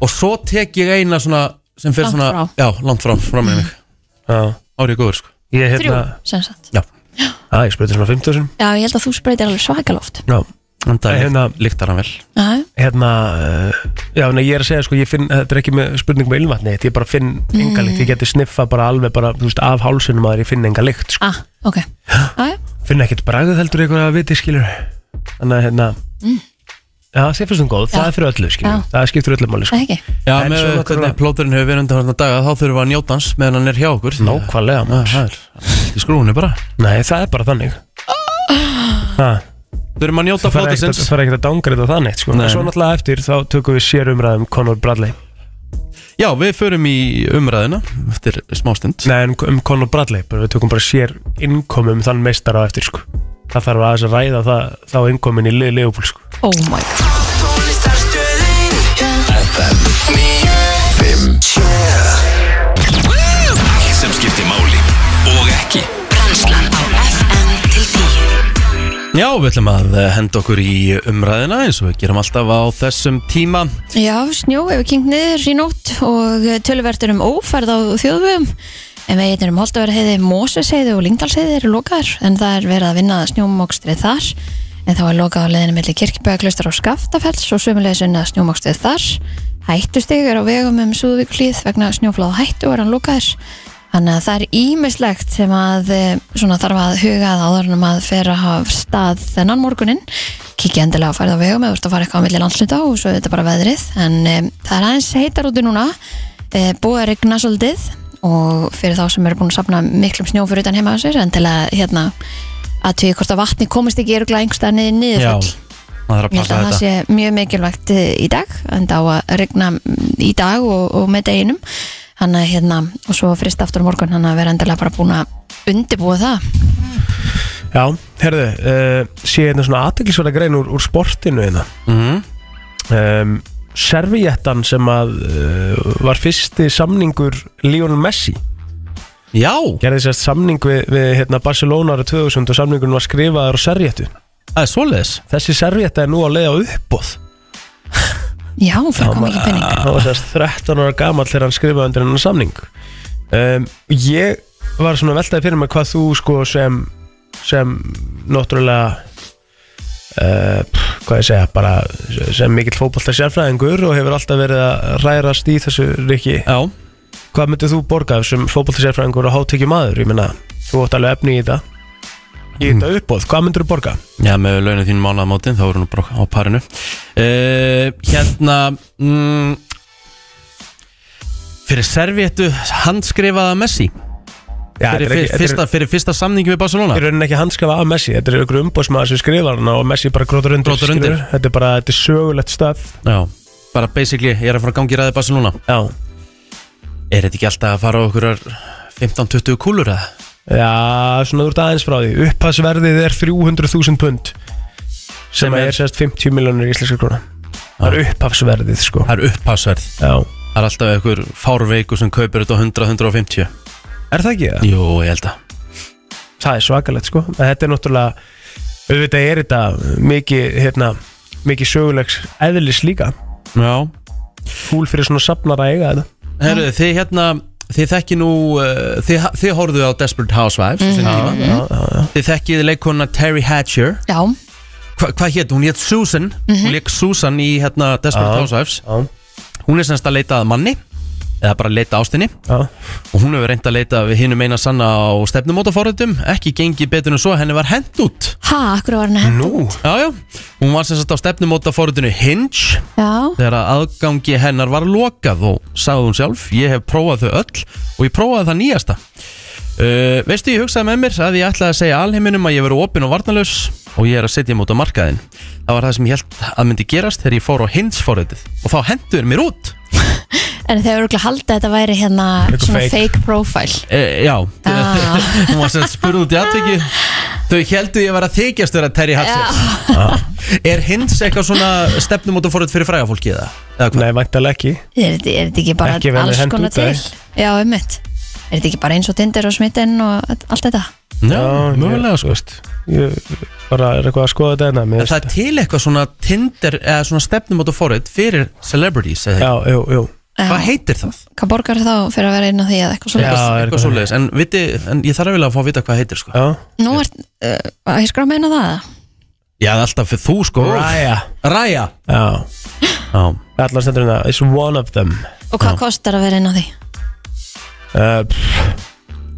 og svo tek ég eina svona sem fer
Langt
svona,
frá.
já, langt frá fram með mig,
Já.
árið góður sko
Ég
Þrjú,
hérna...
sem sagt
já,
Já, ég spyrir svona 50 sinum.
Já, ég held að þú sprautir alveg svakaloft
Já.
en það
Hérna-
hérna, líktar hann vel
Já,
Hérna, uh, já, nei, ég er að segja, sko, ég finn, þetta er ekki með spurning með ylvatni, ég bara finn enga lykt,
Mm.
ég geti sniffa bara alveg bara, þú veist, af hálsunum að ég finn enga lykt, sko.
ah, ok Já, já,
finn ekkert bragðið heldur eitthvað að viti skilur þannig að hérna já, þér finnst hún góð, það er fyrir öllu skilur
Mm. Já.
það skiptir öllu máli sko.
það ekki
já,
En
með
svo náttúrulega-
hvernig plóturinn hefur verið undir hérna daga þá þurfum við að njóta hans meðan hann er hjá okkur því að-
nákvæmlega
Já,
maður.
það er, í skrúinu bara
nei, það er bara þannig
Ah.
Ha,
þurfum að njóta
það fara ekkert
plótursins
það fara ekkert að dangra þetta þannig sko.
Nei.
en svo náttúrulega eftir þá tökum við sér umræðum Conor Bradley
Já, við förum í umræðina eftir smástund
nei, en um Conor Bradley, bara, við tökum bara sér innkomum þann meistara á eftir sko. það þarf aðeins að ræða það, þá innkomin í liði Leopold sko.
Oh my god
Allt sem skiptir máli og ekki
Brennslan á FM til 10
Já, við ætlum að eh, henda okkur í umræðina eins og við gerum alltaf á þessum tíma
Já, snjó hefur kynkt niður í nótt og töluvertur um ófærð á þjóðvögum en veginnir um Holtaverðheiði, Mósesheiði og Lyngdalsheiði eru lokaðar en það er verið að vinna snjómokstrið þar en þá er lokað á leiðinu milli kirkibæðaklaustar og Skaftafells og sömulegis vinna snjómokstrið þar Hættustig er á vegum um Súðvíkulíð vegna snjófláð hættu er hann lokaðar þannig að það er ímislegt sem að eh, svona þarf að huga að áðurnum að fer að hafa stað þennan morgunin kikið endilega að færða á vegum eða þú ert að fara eitthvað á milli landsluta og svo er þetta bara veðrið en um, það er aðeins heitar úti núna e, búið að regna svolítið og fyrir þá sem eru búin að sapna miklum snjó fyrir utan heima á sér en til að hérna að tví hvort að vatni komist ekki örgla einhverstað niður niður
Já, maður þarf að passa
Ég held að
þetta
það sé mjög mikilvægt eh, í dag en það á að regna mm, í dag og, og með deginum hann að hérna og svo frist aftur á morgun hann að vera endilega bara búin að undirbúa það
já, herðu, uh, sé hérna svona aðteklisverða grein úr, úr sportinu hérna
mm.
um, Serviettan sem að uh, var fyrsti samningur Lionel Messi
Já,
gerði sérst samning við, við hérna, Barcelona ára 2000 og samningurinn var skrifaður á Serviettu
það er svoleiðis
þessi Servietta er nú að leiða uppbóð
Já, hún fyrir koma
maður-
ekki penning
hann var sérst 13 ára gamall þegar hann skrifaði undir hennar samning um, ég var svona veltaði fyrir mig hvað þú sko sem sem náttúrulega Uh, pff, hvað ég segja, bara sem mikill fótbolta sérfræðingur og hefur alltaf verið að rærast í þessu riki
Já,
hvað myndið þú borga sem fótboltisérfræðingur og hátekjum maður? Ég meina, þú átt alveg efni í þetta í þetta uppbóð, hvað myndir þú borga?
Já með launinu þínu mánaðamótin þá er hún bara á parinu uh, Hérna mm, Fyrir servéttu handskrifaða Messi
Já,
fyrir,
þetta er
fyr-
ekki,
fyrsta, fyrir fyrsta samningi við Barcelona
þetta er raunin ekki handskafa af Messi þetta er ykkur umbóðsmaður sem skrifar hana og Messi bara grótur undir,
Grótar undir.
skilurðu? þetta er bara, þetta er sögulegt stöf
Já, bara basically ég er að fara að gangi ræði Barcelona
já,
Er þetta ekki alltaf að fara á okkur 15-20 kúlur eða?
já svona þú ert aðeins frá því upphasverðið er 300.000 pund sem,
Sem
er,
er-
er sérst 50 miljónir íslenska króna það er upphafsverðið sko
Það er upphásverð
já.
Það er alltaf einhver fárveiku sem kaupir þetta á 100-150
er það ekki það?
Jú, ég held að
það er svakalegt sko en þetta er náttúrulega auðvitað er þetta mikið hérna mikið sögulegs eðlis líka
Já
fúl fyrir svona safnar að eiga þetta
Herru, þið hérna Þið þekki nú, uh, þið, þið horfðu á Desperate Housewives mm -hmm.
Mm-hmm. já, já, já.
Þið þekkið leikona Terry Hatcher
Já,
Hva, Hvað hétt, hún hétt Susan
Mhm.
Hún leik Susan í hérna Desperate
Já.
Housewives
Já,
Hún er semst að leita að manni Eða bara að leita að ástinni
já,
Og hún hefur reynd að leita við hinum eina sanna á stefnumótaforritum Ekki gengi betur en svo, henni var hend út
ha, akkur var hann að henda
nú
Já, já, hún var sem sagt á stefnumótaforritinu Hinge
Já,
þegar að aðgangi hennar var lokað og sagði hún sjálf, ég hef prófað þau öll og ég prófaði það nýjasta uh, veistu, ég hugsaði með mér að ég ætlaði að segja alheiminum að ég veri opinn og varnalaus og ég er að setja mút á markaðin það var það sem ég held að myndi gerast þegar ég fór á hinsforöðið og þá hendur mér út
en þeir eru ekki að halda að þetta væri hérna
Eitthvað
svona
fake.
fake, profile
e, já,
Ah.
hún var sem sagt spurð út í atviki þau heldu ég var að þykjast þeirra Terry Hatcher er hins eitthvað svona stefnum út fyrir frægafólki eða, eða hvað?
Nei, væntalega ekki
Er þetta er þetta ekki bara
Ekki verið
alls
hent
konar
út af
til?
þér.
Já, einmitt Er þetta ekki bara eins og Tinder og smitten og allt þetta?
Já,
ég-
mögulega sko
Ég bara er eitthvað að skoða þetta hérna, mér
En það
finnst
er til eitthvað svona Tinder eða svona stefnumóta forrið fyrir celebrities eða
Já, jú, jú
Já.
hvað heitir það?
Hvað borgar þá fyrir að vera inn á því eða eitthvað
Já,
svona?
er
Eitthvað svoleiðis, en, viti, en ég þarf að vilja að fá að vita hvað það heitir sko.
Já,
Nú er, uh, að ég skur að meina það? eða?
Já, það er alltaf fyrir þú sko
Raya
Ræja
Já,
Já,
allar stendur hérna It's one of them
Og hvað kostar að vera inn á því?
uh, pff,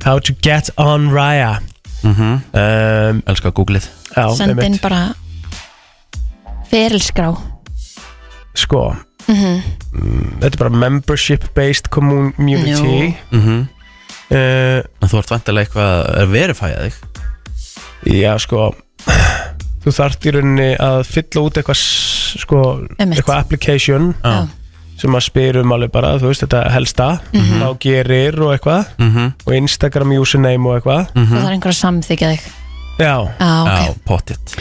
How to get on Raya
Mhm.
um,
elskar googlið
Já,
Send inn
einmitt.
bara ferilskrá
Sko
Mhm.
mm, Þetta er bara membership based community
Mhm.
uh,
En þú ert vantilega eitthvað að verifæja þig
Já, sko Þú þarft í rauninni að fylla út eitthvað s- sko,
Einmitt.
eitthvað application
Já.
sem að spyrum alveg bara, þú veist, þetta helsta
Mhm.
þá gerir og eitthvað
Mhm.
og Instagram username og eitthvað
og það er einhver að samþykja þig
Já,
Já, ok
Já, pottitt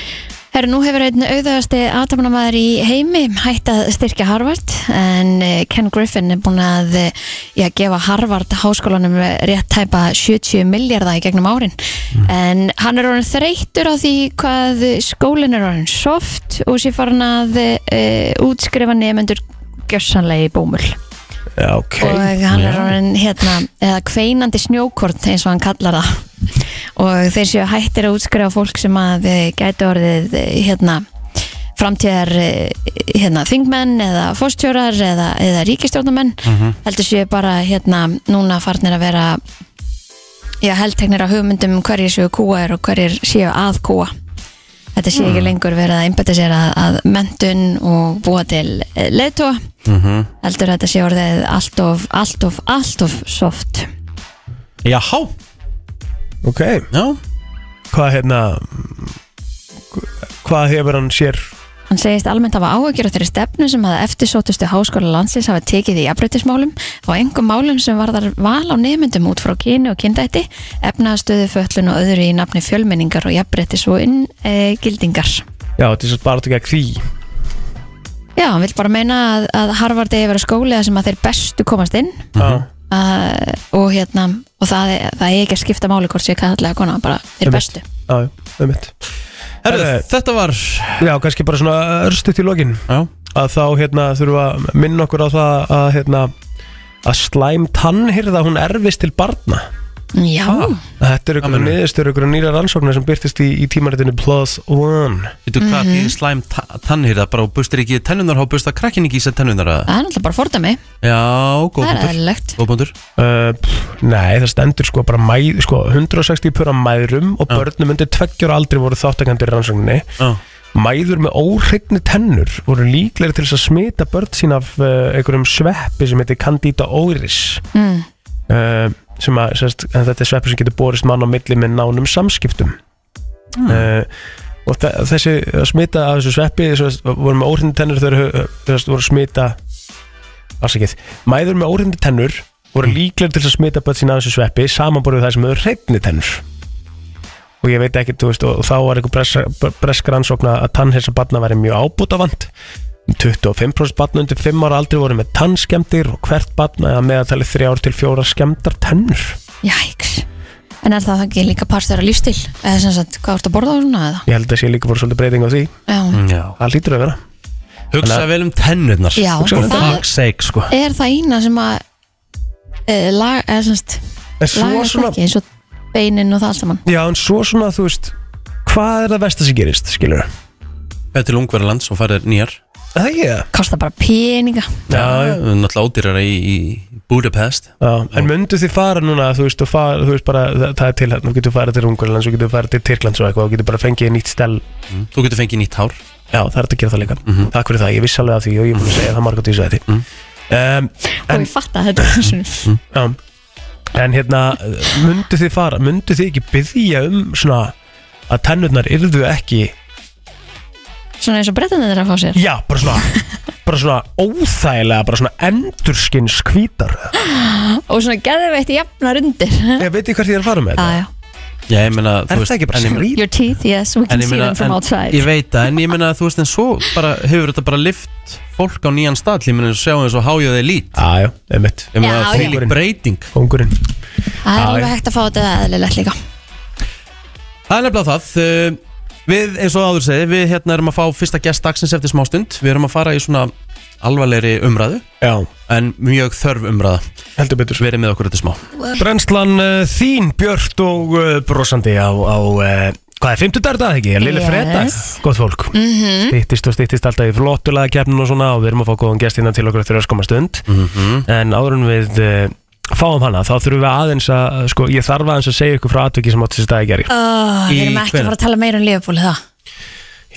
Herru, nú hefur einn auðvöðasti aðtöfnamaður í heimi hætt að styrkja Harvard en eh, Ken Griffin er búin að eh, já, gefa Harvard háskólanum eh, rétt tæpa 70 miljardar í gegnum árin en hann er orðin þreyttur á því hvað skólinn er orðin soft og sé farin að uh, útskrifa nefnendur gjörsanlega í bómull
já, ok
og hann er orðin hérna, eða kveinandi snjókort eins og hann kallar það og þeir séu hættir að útskrifa fólk sem að eh, gæti orðið eh, hérna framtíðar eh, hérna, þingmenn eða fórstjórar eða, eða ríkistjórnumenn heldur séu bara hérna núna farnir að vera já, heldteknir á hugmyndum um hverjir séu kúar og hverjir séu að kúa þetta sé ekki lengur verið að einbæta sér að, að mentun og búa til eh, leðtóa heldur þetta sé orðið allt of, allt of, allt of soft
Jáhá,
Ok,
já
hvað hérna hvað hefur hann sér
Hann segist almennt hafa áhugjur á þeirri stefnu sem að eftirsótustu háskóla landsins hafa tekið í jafnbreytismálum og engum málum sem varðar val á nefndum út frá kyni og kyndætti, efnaðastöðu, föllun og öðru í nafni fjölmenningar og jafnbreytis og e, inngildingar.
Já, þetta er svo bara ekki að kví
Já, hann vil bara meina að, að Harvard eigi að vera skóli þar sem að þeir bestu komast inn
Já,
uh, og hérna, og það, er- það er ekki að skipta máli hvort sé kallega kona, bara þeir
Einmitt.
bestu.
já, um mitt
Herru,
Herru.
þetta var
Já, kannski bara svona örstuðt í lokin
Já,
að þá hérna þurfum við að minna okkur á það að hérna að slæm tannhyrða hún erfist til barna
Já,
Ah.
Þetta er ykkur
meinarðu?
niðurstöður ykkur nýra rannsóknir sem byrtist í, í tímaritinu Plus One
veitu hvað
Mhm.
mm -hmm. slæm ta- tannhýrða bara og bustir ekki tennunar og busta krakkin ekki í sér tennunar eða?
það er náttúrulega bara fordæmi,
Já, góð
það er
punktur
eðlilegt.
Góð punktur
uh, pff, Nei, það stendur sko bara mæð, sko, 160 pura mæðrum og
Já.
börnum undir tveggjur aldrei voru þáttakandi í rannsókninni
Já,
Mæður með óhrigni tennur voru líklegri til þess að smita börn sín af uh, einhverjum sveppi sem heitir Candida auris
Mm.
uh, sem að sérst, en þetta er sveppur sem getur borist mann á milli með nánum samskiptum uh, og þe- þessi að smita af þessu sveppi sérst, voru með óhrindi tennur þegar uh, sérst, voru smita afsakið, mæður með óhrindi tennur voru líklegri til þess að smita börn sín af þessu sveppi samanborðið það sem hefur hreitni tennur og ég veit ekki, þú veist, og og þá var einhver breska, breska rannsókn að tannhersa barna væri mjög Um ábútavand 25% barna undir 5 ára aldrei voru með tannskemdir og hvert barna eða meðaltalið 3 ár til 4 skemdar tennur
Jæks En er það ekki líka partur af lífstil? Eða sem sagt, hvað ertu að borða á svona eða?
ég held að sé líka voru svolítið breyting á því
Já,
já
það lítur að vera
Hugsa vel um tennurnar
Já,
For
það-
fuck's sake sko
er það eina sem að e, lag, eða semst
En svo
lagast
svona
ekki eins og beinin og það allt saman
Já, en svo svona, þú veist Hvað er það versta sem gerist, skilur það?
Fæði til ungverðarlands og færið nýjar
Það ekki það?
kostar bara peninga
Já, náttúrulega ódýrara í, í Budapest
Já, en myndu þið fara núna, þú veist, og fara, þú veist bara, það, það er til hérna, þú getur farið til Ungurlands, þú getur farið til Tyrklands og eitthvað, þú getur bara fengið nýtt stel,
Þú getur fengið nýtt hár
já, það er hægt að gera það líka,
Mhm.
takk fyrir það, ég viss alveg að því og ég er búin að segja það margótt í þessu þetta. Um,
og ég fatt að þetta er
Mm.
svona
já, en hérna, myndu þið fara, myndu þið ekki byggja um svona að tennurnar yrðu ekki,
svona eins og brettan þetta er að fá sér
já, bara svona, bara svona óþægilega, bara svona endurskins hvítar.
Mm.
og svona geðveitt jafnar undir
Ég veit ekki hvert ég er að fara með þetta.
aðja,
Já, ég meina þú
Er
veist,
það ekki bara
en ég-
skrýt?
your teeth, yes, we
En
can
ég
see
meina,
them from
en, ég
outside
veit það, en ég meina að þú veist en svo bara hefur þetta bara lift fólk á nýjan stall, ég meina að sjá eins og hájöði lít,
Já, já, einmitt,
ég meina
Já,
að
já.
þvílik breyting
kongurinn.
Ah, það er
Ah,
Já,
alveg
já.
hægt að fá þetta eðlilegt líka
Það er nefnilega það uh, Við eins og áður segi, við hérna erum að fá fyrsta gest dagsins eftir smástund, við erum að fara í svona alvarlegri umræðu
Já,
en mjög þörf umræða,
heldur betur.
verið með okkur þetta smá
Brennslan uh, þín, Björt og uh, brosandi á, á uh, hvað er, 50 dagar dag ekki? Lille
Yes.
yes. fredag, gott fólk. Mm -hmm. Stýttist og stýttist alltaf í flottulega keppnin og svona og við erum að fá góðan gest innan til okkur eftir öskama stund.
Mhm.
-hmm. En áður en við uh, fáum hana, þá þurfum við aðeins að, sko, ég þarf aðeins að segja ykkur frá atviki sem átti þessi dag í gerði.
oh,
Í
við erum ekki
hvenær?
að fara að tala meira um Liverpool það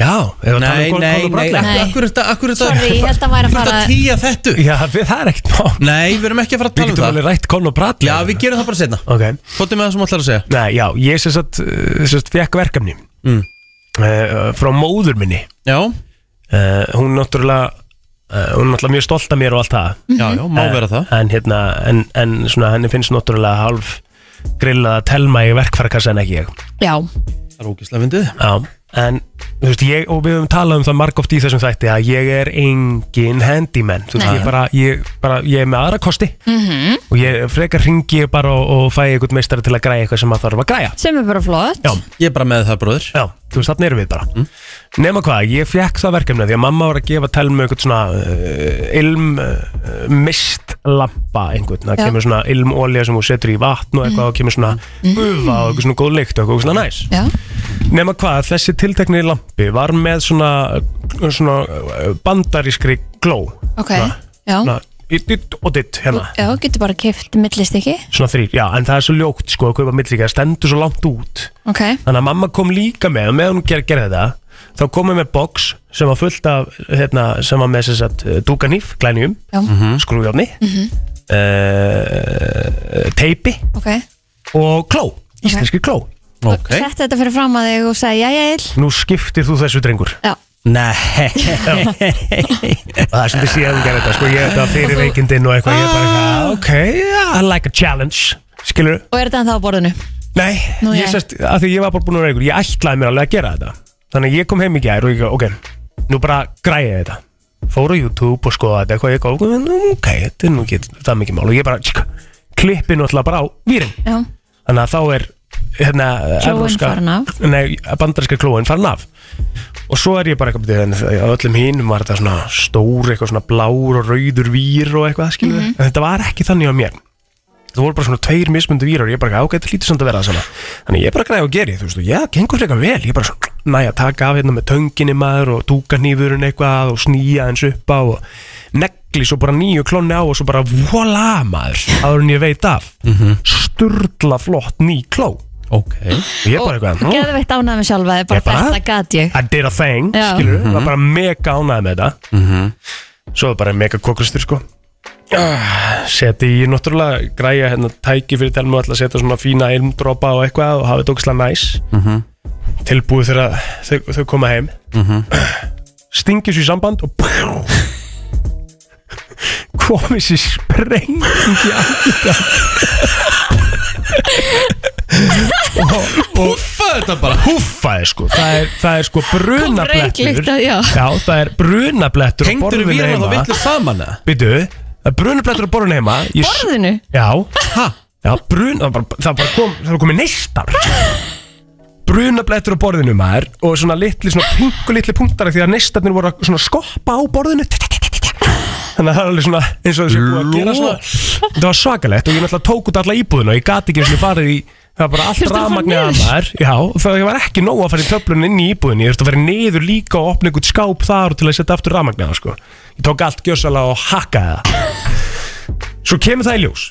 Já, ef að tala
Nei,
um Gordon
nei,
Conor
nei,
Bradley.
Nei.
akkur er þetta, akkur er þetta
Sorry, ég held að
Akkur
væri að
er þetta
fara-
að týja þetta
Já, við, það er ekkert mál.
Nei, við erum ekki að fara að
Við
tala
getum
um
alveg
það
rætt Conor Bradley.
Já, við gerum það bara setna
Ok.
Hvort er með það sem allar að segja?
Nei, já, ég sem sagt, uh, sem sagt fekk verkefni
Mm.
uh, frá móður minni
Já,
Mhm.
uh, hún náttúrulega uh, hún er náttúrulega mjög stolt af mér og allt það
já, já, má
Eh,
vera það
en, hérna, en, en svona, henni finnst náttúrulega hálf grillað að telma í verkfærakassa en ekki ég
já,
Það er ógislega fyndið
já. en þú veist ég og við höfum talað um það margóft í þessum þætti að ég er engin handyman þú veist
Nei.
ég bara, ég bara ég er með aðra kosti -hmm. og ég frekar ringi bara og, og fæ einhvern meistara til að græja eitthvað sem að þarf að græja
sem er bara flott
Já.
Ég er bara með það, bróður
Já, þú veist, þarna erum við bara Nema hvað, ég fekk það verkefni Því að mamma var að gefa telmu einhvern svona uh, ilm uh, mistlampa einhvern, það
Já.
kemur svona ilmolja sem hún setur í vatn og eitthvað og kemur svona bufa og eitthvað svona góð lykt og eitthvað svona næs
Mm. já,
Nema hvað, þessi tiltekni lampi var með svona, svona uh, bandarískri gló
ok já,
svona, í ditt og ditt hérna
já, getur bara kift millist ekki,
Svona þrýr, já, en það er svo ljókt sko að kaupa millíka, það stendur svo langt út
ok
Þannig að mamma kom líka með og meðan hún ger, gerði það þá komum við með box sem var fullt af hérna, sem eh, var með þess að dúkanýf, glænjum,
já,
skrúfjárni mm eh, teipi
ok
og kló, íslenski kló
Ok
okay. Sett þetta fyrir fram að þig og segja já, já,
Nú skiptir þú þessu drengur
já,
Nei
og það er sem þið síðan hún gerði þetta sko, ég þetta fyrir veikindin og eitthvað, ég er bara eitthvað, ok, yeah, I like a challenge skilur,
og er þetta ennþá á borðinu
nei,
Nú,
ég
jæja.
sérst að því ég var bara búin að vera ykkur, ég ætlaði mér alveg að gera þetta þannig að ég kom heim í gær og ég, ok nú bara græði ég þetta fór á YouTube og skoða þetta eitthvað, ég góð ok, þetta er nú ekki, það er mikið mál og ég bara tsk, klippi náttúrulega bara á výrin
já,
þannig að þá er hérna,
Klóin
evrópska-
farin af.
nei, bandarinska klóin farin af og svo er ég bara eitthvað byrjuð, en á öllum hinum var þetta svona stór eitthvað svona blár og rauður vír og eitthvað skilur
Mhm.
en þetta var ekki þannig á mér það voru bara svona tveir mismundu vírar og ég bara, ok, þetta lítur samt að vera það sama þannig ég bara græði og geri, þú veist, og já, gengur frekar vel ég bara svona, næ, að taka af hérna með tönginni maður og túka nýfurinn eitthvað og snýja eins upp á og negli svo bara nýju klonni á og svo bara vola maður, áður en ég veit af mm sturla flott ný kló
Ok
og ég bara eitthvað, nú,
geðveitt ánæmi sjálfa þig, bara
Ég bara-
þetta gat ég
I did a thing,
Já.
skilur við, var bara mega ánægð með þetta svo er bara mega kokkustur sko Ah, seti ég náttúrulega græja hérna tæki fyrir telmu alltaf setja svona fína ilmdropa og eitthvað og hafa þetta ógislega næs tilbúið þegar þau, þau koma heim mm stingið sér í samband og komið sér spreng í andlita og, og
Húfa þetta bara
húffaði sko það er, það er sko brunablettur
reyklykta, já.
það er brunablettur á
Hengdur
borðinu
við hérna þá
heima
vitlu saman eða?
Býtu, það er brunablettur á borðinu heima Ég s-
borðinu,
Já, já brun, það, bara, það bara kom það var komið neistar brunablettur á borðinu maður og svona litli, svona pingu litli punktar af því að neistarnir voru að svona skoppa á borðinu þannig að það er alveg svona eins og þessi búið að gera svona það var svakalegt og ég náttúrulega tók út alla íbúðina og ég gat ekki eins og farið í það var bara allt
Þurfti að fara
rafmagnið að
niður?
maður já, og það var ekki nóg að fara í töflun inn í íbúðinu ég þurfti að vera niður líka og opna einhvern skáp þar og til að setja aftur rafmagnið á, sko. ég tók allt gjössalega og hakkaði það svo kemur það í ljós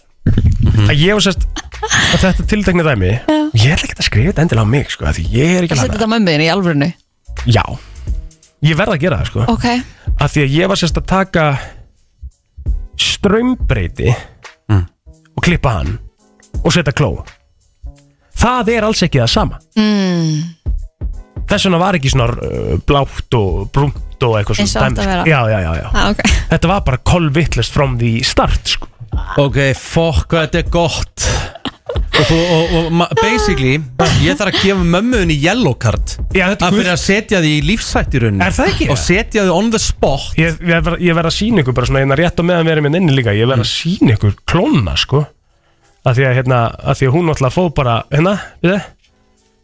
að ég var sérst að þetta tiltekna dæmi ég er ekki að skrifa þetta endilega á mig sko, af því ég er ekki
Ég seti
að hana
þetta mömmu þínu í alvörinu
já, ég verð að gera það sko
Ok,
af því að ég var sérst að taka strömbreyti og klippa hann og setja kló það er alls ekki það sama mm. þess vegna var ekki svona uh, blátt og brúnt og eitthvað
Eins og átti að
sko.
vera.
já, já, já, já.
ah, ok
þetta var bara kolvittlust from the start sko.
Ok, fokk, hvað þetta er gott Og, þú, og, og ma- basically Ég þarf að gefa mömmuðin í yellow card
Já, þetta er
Að fyrir
gull.
að setja því í lífsætt í rauninni
Er það ekki?
Og setja því on the spot
ég, ég, verð- ég verð að sína ykkur bara svona hérna rétt og meðan við erum hérna inni líka ég verð
Mm.
að sína ykkur klónna sko af því að, hérna, af því að hún alltaf fóð bara hérna, við þið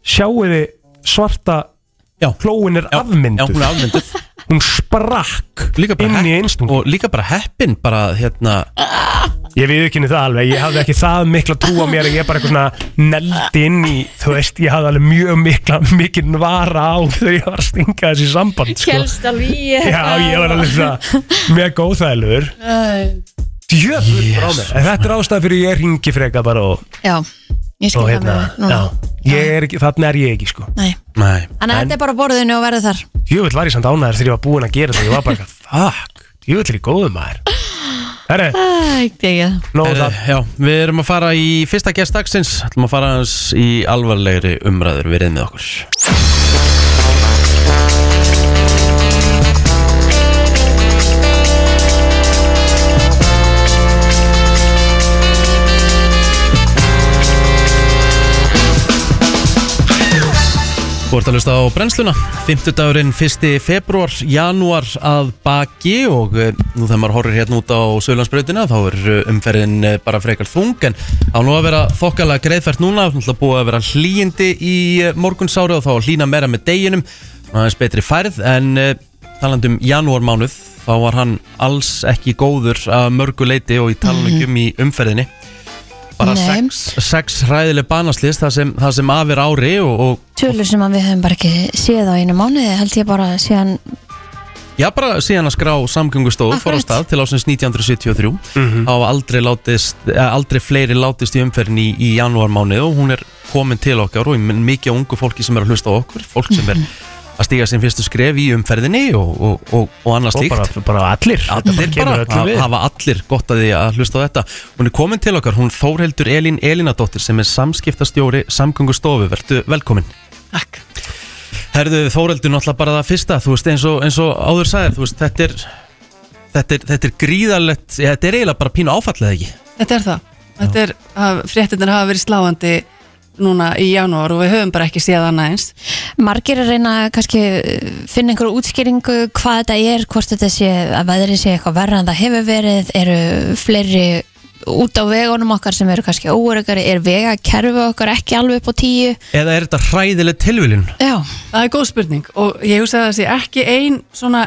sjáu þið svarta
Já.
klóin er
Já, Já,
afmynduð
hún er afmynduð
hún sprakk
Líka bara
inn í
hepp-
einstungu
Og líka bara heppin bara hérna
ég við ekki það alveg, ég hafði ekki það mikla trú á mér en ég bara eitthvað svona neldi inn í þú veist, ég hafði alveg mjög mikla mikinn vara á þegar ég var að stinga þessi samband sko.
Kjælst alveg í
Já, ég var alveg svona mjög góðþægilegur Djöfull frá mér En Þetta er ástæða fyrir ég ringi freka bara og,
Já, ég skil
og
það
hérna,
með
já
núna
Ég er ekki, þannig er ég ekki sko
Nei,
Nei
þannig að þetta er bara á borðinu og verður þar
Djöfull var ég samt ánæður þegar ég var búinn að gera það Ég var bara eitthvað, fuck, djöfull er ég góðu maður Herre,
Æ, ekki
nóg
Herðu,
það
já, við erum að fara í fyrsta gest dagsins ætlum að fara hans í alvarlegri umræður verið með okkur Þú ert að hlusta á brennsluna 50 dagurinn 1. februar, janúar að baki og eh, nú þegar maður horfir hérna út á Söðlandsbrautina þá er eh, umferðin eh, bara frekar þung en á nú að vera þokkalega greiðfært núna það er búið að vera hlýjindi í eh, morgunsári og þá hlýna meira með deginum og aðeins betri færð en eh, talandi um janúarmánuð þá var hann alls ekki góður að mörgu leiti og í talanum í umferðinni bara
Nei.
sex, sex ræðileg banaslist það sem, það sem afir ári og, og
Tölur sem að við höfum bara ekki séð á einu mánuði held ég bara síðan
Já, bara síðan að skrá samgöngustofu fór á
Akkurat.
stað til ásins 1973
Mhm.
hafa aldrei, látist, eh, aldrei fleiri látist í umferðin í, í janúarmánu og hún er komin til okkar og ég menn mikið af ungu fólki sem er að hlusta á okkur fólk sem er að stíga sinn fyrstu skref í umferðinni og, og, og, og annað
Og
slíkt
bara, bara allir
Allir bara,
kemur öllum
ha-
við
hafa allir gott að því að hlusta á þetta Hún er komin til okkar, hún Þórhildur Elín Elínadóttir sem er samskiptastjóri samgöngustofu, verðu velkomin
Takk.
Herðu Þórhildur náttúrulega bara það fyrsta, þú veist eins og, eins og áður sagðir, þú veist þetta er þetta er, þetta er gríðarlegt, ja, þetta er eiginlega bara pínu áfallið ekki
Þetta er það. Þetta er, haf- fréttirnar hafa verið sláandi núna í janúar og við höfum bara ekki séð annað eins.
margir að reyna að kannski eh, finna einhverju útskýringu hvað þetta er, hvort þetta sé að veðrið sé eitthvað verra en það hefur verið, eru fleiri út á vegunum okkar sem eru kannski óörugari, er vegakerfi okkar ekki alveg upp á tíu
Eða er þetta hræðileg tilviljun?
Já,
Það er góð spurning og ég hugsa að það sé ekki ein svona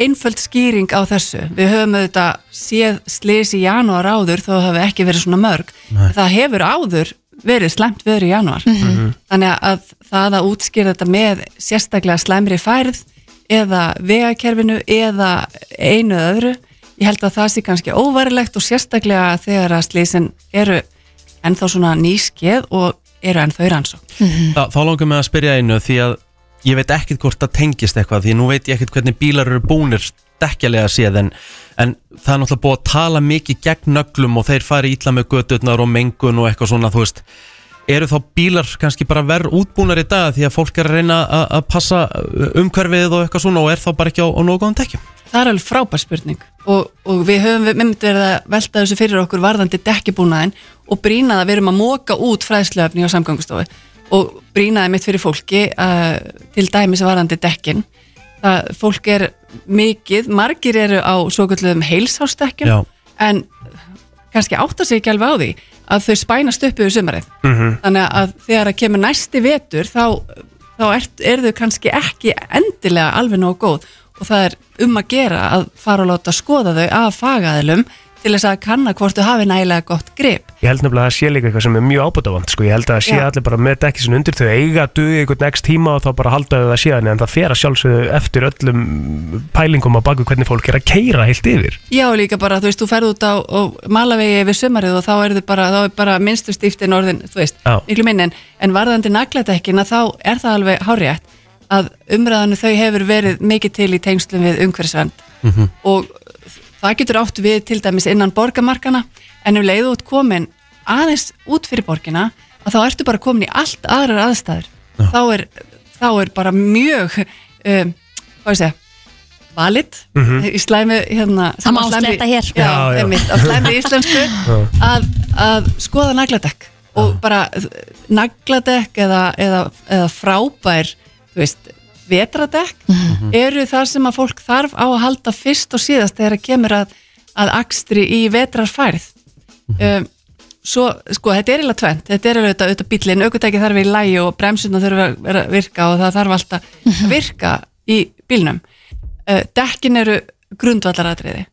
einföld skýring á þessu. Við höfum auðvitað séð slis í janúar áður þó það hafi ekki verið svona mörg. Það hefur áður verið slæmt veður í janúar. Þannig að það að útskýra þetta með sérstaklega slæmri færð eða vegakerfinu eða einu eða öðru, ég held að það sé kannski óvarilegt og sérstaklega þegar að slisin eru ennþá svona nýskeð og eru ennþá í rannsókn.
Þa, þá langar mig að spyrja einu því að ég veit ekkert hvort það tengist eitthvað því nú veit ég ekkert hvernig bílar eru búnir dekkjalega séð en, en það er náttúrulega búið að tala mikið gegn nöglum og þeir fari ítla með gödurnar og mengun og eitthvað svona þú veist eru þá bílar kannski bara verð útbúnar í dag því að fólk er að reyna að að passa uh, umhverfið og eitthvað svona og er þá bara ekki á, á nógu góðan tekjum
Það er alveg frábær spurning og, og við höfum við- einmitt verið að velta þessu fyrir okkur varðandi dekkibúnaðin og brýnaða við erum að móka út fræðsluöfni á samgangustofu og brýnaði mitt fyrir fólki uh, til dæmis varðandi dekkin það fólk er mikið, margir eru á svo kvöldluðum heilsásdekkjum
Já.
en kannski átta sig ekki alveg á því að þau spænast upp yfir sumarið -hmm. þannig að þegar að kemur næsti vetur þá, þá er, er þau kannski ekki endilega alveg nógu góð og það er um að gera að fara og láta skoða þau af fagaðilum til þess að kanna hvort þau hafi nægilega gott grip
Ég held nefnilega að það sé líka eitthvað sem er mjög ábútafand sko. Ég held að það sé
Já.
allir bara með dekki sinni undir þau eiga að duga eitthvað next tíma og þá bara halda þau það síðan en það fer að sjálfsögðu eftir öllum pælingum á baku hvernig fólk er að keira heilt yfir
Já, líka bara, þú veist, þú ferð út á og malavegi yfir sumarið og þá er þau bara, þá er bara minnstu stíftin orðin, þú veist,
Já.
miklu minn en, en varðandi nagladekkina þá er það alveg hárétt að umræðanu þau hefur verið mikið til í tengslum við umhverfisvend og það getur átt við til dæmis innan borgamarkana en um ef leiðu út komin aðeins út fyrir borgina að þá ertu bara komin í allt aðrar aðstæður þá er, þá er bara mjög um, hvað ég segja valid í slæmi hérna,
Það má
á slæmi-
sletta hér. sko.
já,
Já, já.
einmitt, á slæmi íslensku að, að skoða nagladekk og bara nagladekk eða, eða, eða frábær þú veist, vetradekk eru þar sem að fólk þarf á að halda fyrst og síðast þegar að kemur að, að akstri í vetrarfærð um, svo, sko, þetta er eiginlega tvent þetta er auðvitað, auðvitað bíllinn, aukutæki þarf í lægi og bremsuna þurfa að vera- virka og það þarf alltaf að virka í bílnum uh, dekkin eru grundvallaratriði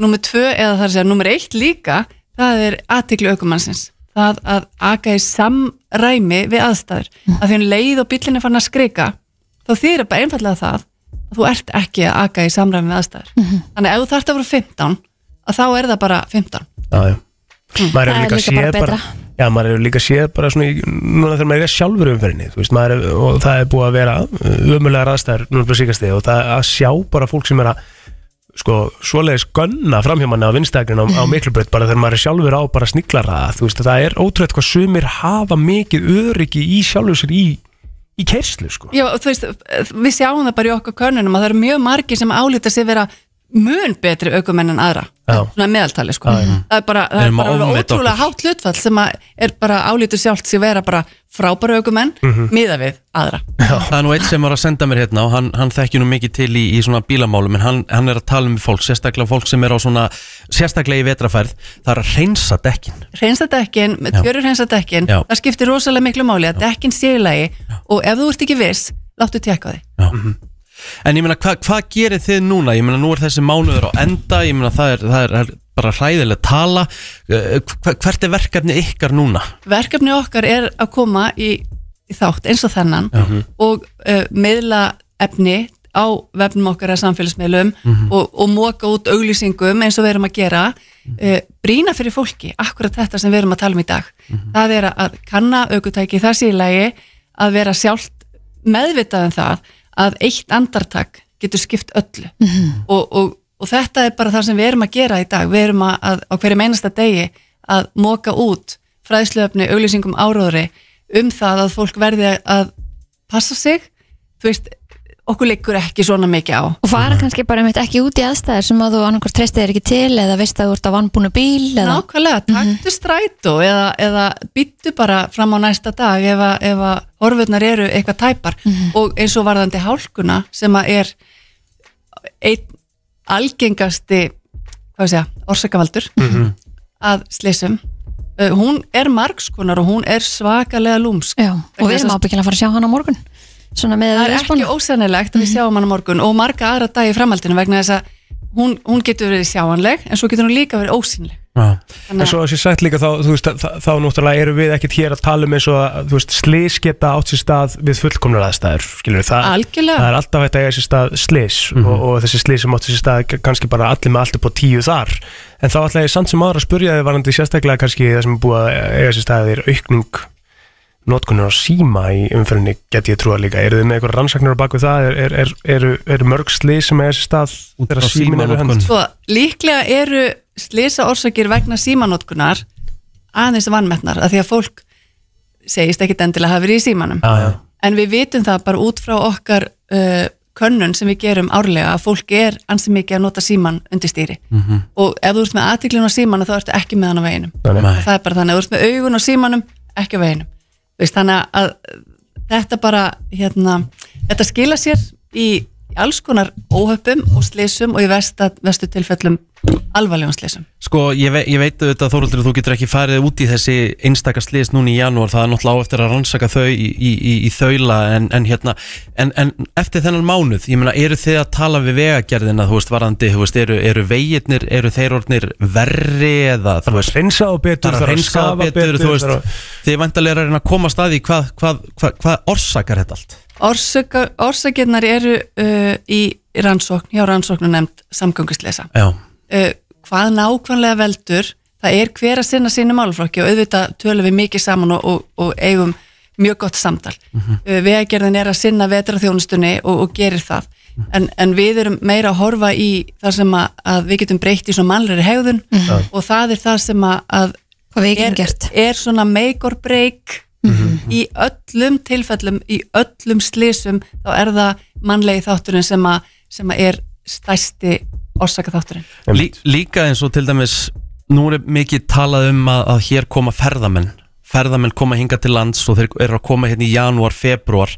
Númer tvö eða þar að segja númer eitt líka það er aðtikli aukumannsins það að aka í samræmi við aðstæður, að því hún leið og bíllinn er farin að skrika þá þýðir bara einfallega það að þú ert ekki að aka í samræmi við aðstæður þannig að ef þú þarft að vera 15 að þá er það bara 15
Já, já
Hm, Það
Maður hefur
er
líka
líka bara
séð bara,
betra.
já, maður hefur líka séð bara svona, í- núna þegar maður er sjálfur í umferðinni, þú veist, maður er, og það er búið að vera ömulegar aðstæður núna fyrir síkastíð og það að sjá bara fólk sem er að, sko, svoleiðis gönna framhjómanna á vinstæknin á, á
Hm.
miklubröð, bara þegar maður er sjálfur á bara sniklara, þú veist, það er ótrúlega hvað sumir hafa mikið öryggi í sjálfur sér í, í kerslu, sko.
Já, þú veist, við sjáum það bara í okkar könnunum að það eru mjög margir sem álíta sig vera mun betri aukumenn en aðra
Já.
svona að meðaltali sko það er bara, það
Erum
er bara
að
alveg
ofmeta
ótrúlega
okkur.
hátt hlutfall sem að er bara álítu sjálft sig vera bara frábæra aukumenn
Mhm.
miða við aðra
Það er nú eitt sem var að senda mér hérna og hann, hann þekki nú mikið til í, í svona bílamálum en hann, hann er að tala um fólk, sérstaklega fólk sem er á svona, sérstaklega í vetrafærð það er að reynsa dekkin
reynsa dekkin,
Já.
gjörur reynsa dekkin
Já.
það skiptir rosalega miklu máli að dekkin sé í lagi og ef þú ert ekki viss láttu tekka því
Mhm. En ég meina, hva, hvað gerir þið núna? Ég meina, nú er þessi mánuður á enda ég meina, það er, það er bara hræðileg tala Eh, hva- Hvert er verkefni ykkar núna?
verkefni okkar er að koma í, í þátt eins og þennan og uh, meðla efni á vefnum okkar að samfélagsmiðlum og, og móka út auglýsingum eins og við erum að gera uh, brína fyrir fólki, akkurat þetta sem við erum að tala um í dag það er að kanna aukutæki þessi í lagi að vera sjálft meðvitað um það að eitt andartak getur skipt öllu og, og, og þetta er bara það sem við erum að gera í dag við erum að, að á hverjum einasta degi að móka út fræðsluöfni, auglýsingum áróðri um það að fólk verði að passa sig þú veist, okkur liggur ekki svona mikið á
og fara kannski bara einmitt ekki út í aðstæðir sem að þú annarkvæmst treystið þér ekki til eða veist að þú ert á vannbúnu bíl eða Mhm.
Nákvæmlega, taktu strætó eða, eða byttu bara fram á næsta dag ef að, ef að horfurnar eru eitthvað tæpar
Mhm.
og eins og varðandi hálkuna sem að er einn algengasti hvað ég segja, orsakavaldur að slysum Uh, hún er margskonar og hún er svakalega lúmsk
Já, og við erum ábyggilega að fara að sjá hann á morgun svona með
það er
respon.
ekki ósennilegt
Mhm.
að við sjáum hann á morgun og marga aðra dagi framhaldinu vegna þess að hún, hún getur verið sjáanleg en svo getur hún líka verið ósynleg
Já.
Þannig
En
að-
svo að sé sagt líka þá, þú veist, þá, þá, þá náttúrulega erum við ekkert hér að tala um eins og að, þú veist, slis geta átt sér stað við fullkomnar aðstæður, skilur við, það,
Algjörlega.
það er alltaf hægt að eiga sér stað slis
Mhm.
og, og þessi slis sem átt sér stað kannski bara allir með allt upp á tíu þar, en þá ætla ég samt sem aðra að spurja þið varandi sérstaklega kannski það sem er búið að eiga sér stað er aukning notkunnur á síma í umferðinni get ég trúa líka, eru þið með eitthvað rannsaknir á baku það, er, er, er, eru er mörg slis sem eiga sér stað
Út
þegar
frá
síminn er í hönd?
símanotkun.
Sko, líklega eru slisa orsakir vegna símanótkunar aðeins vannmettnar að því að fólk segist ekkit endilega hafa verið í símanum
Já, já.
en við vitum það bara út frá okkar uh, könnun sem við gerum árlega að fólk er ansi mikið að nota síman undir stýri -hmm. og ef þú ert með aðtiklun á símanu þá ertu ekki með hann á veginum
Þannig.
Nei.
það er bara þannig, ef þú ert með augun á símanum ekki á veginum Veist, þannig að þetta bara hérna, þetta skila sér í í alls konar óhöppum og slysum og í vest, vestu tilfellum alvarlegum slísum
Sko, ég, ve ég veit auðvitað Þóruldur þú getur ekki farið út í þessi einstaka slis núna í janúar, það er náttúrulega á eftir að rannsaka þau í, í, í, í þaula en, en hérna, en, en eftir þennan mánuð ég meina, eru þið að tala við vegagerðina þú veist, varandi, þú veist, eru, eru vegirnir eru þeir orðnir verri eða þú veist,
reynsa og betur,
þarf að reynska
skafa
betur, þú veist,
þarf að-
þið vantarlega er að koma staði hvað, hvað, hvað, hvað orsakar þetta allt
Orsaka- Orsakirnar eru uh, í rannsókn, hjá rannsóknu nefnd samgönguslesa.
Já,
Uh, hvað nákvæmlega veldur, það er hver að sinna sínu málaflokki og auðvitað tölum við mikið saman og, og, og eigum mjög gott samtal. Mm Vegagerðin er að sinna vetraþjónustunni og, og gerir það. En, en við erum meira að horfa í það sem að, að við getum breytt í svona mannlegri hegðun og það er það sem að, að
Hvað við ekki
er,
gert
er svona make or break í öllum tilfellum í öllum slísum þá er það mannlegi þátturinn sem, a, sem að er stæsti orsaka þátturinn
Lí, líka eins og til dæmis nú er mikið talað um að, að hér koma ferðamenn ferðamenn koma hinga til lands og þeir eru að koma hérna í janúar, februar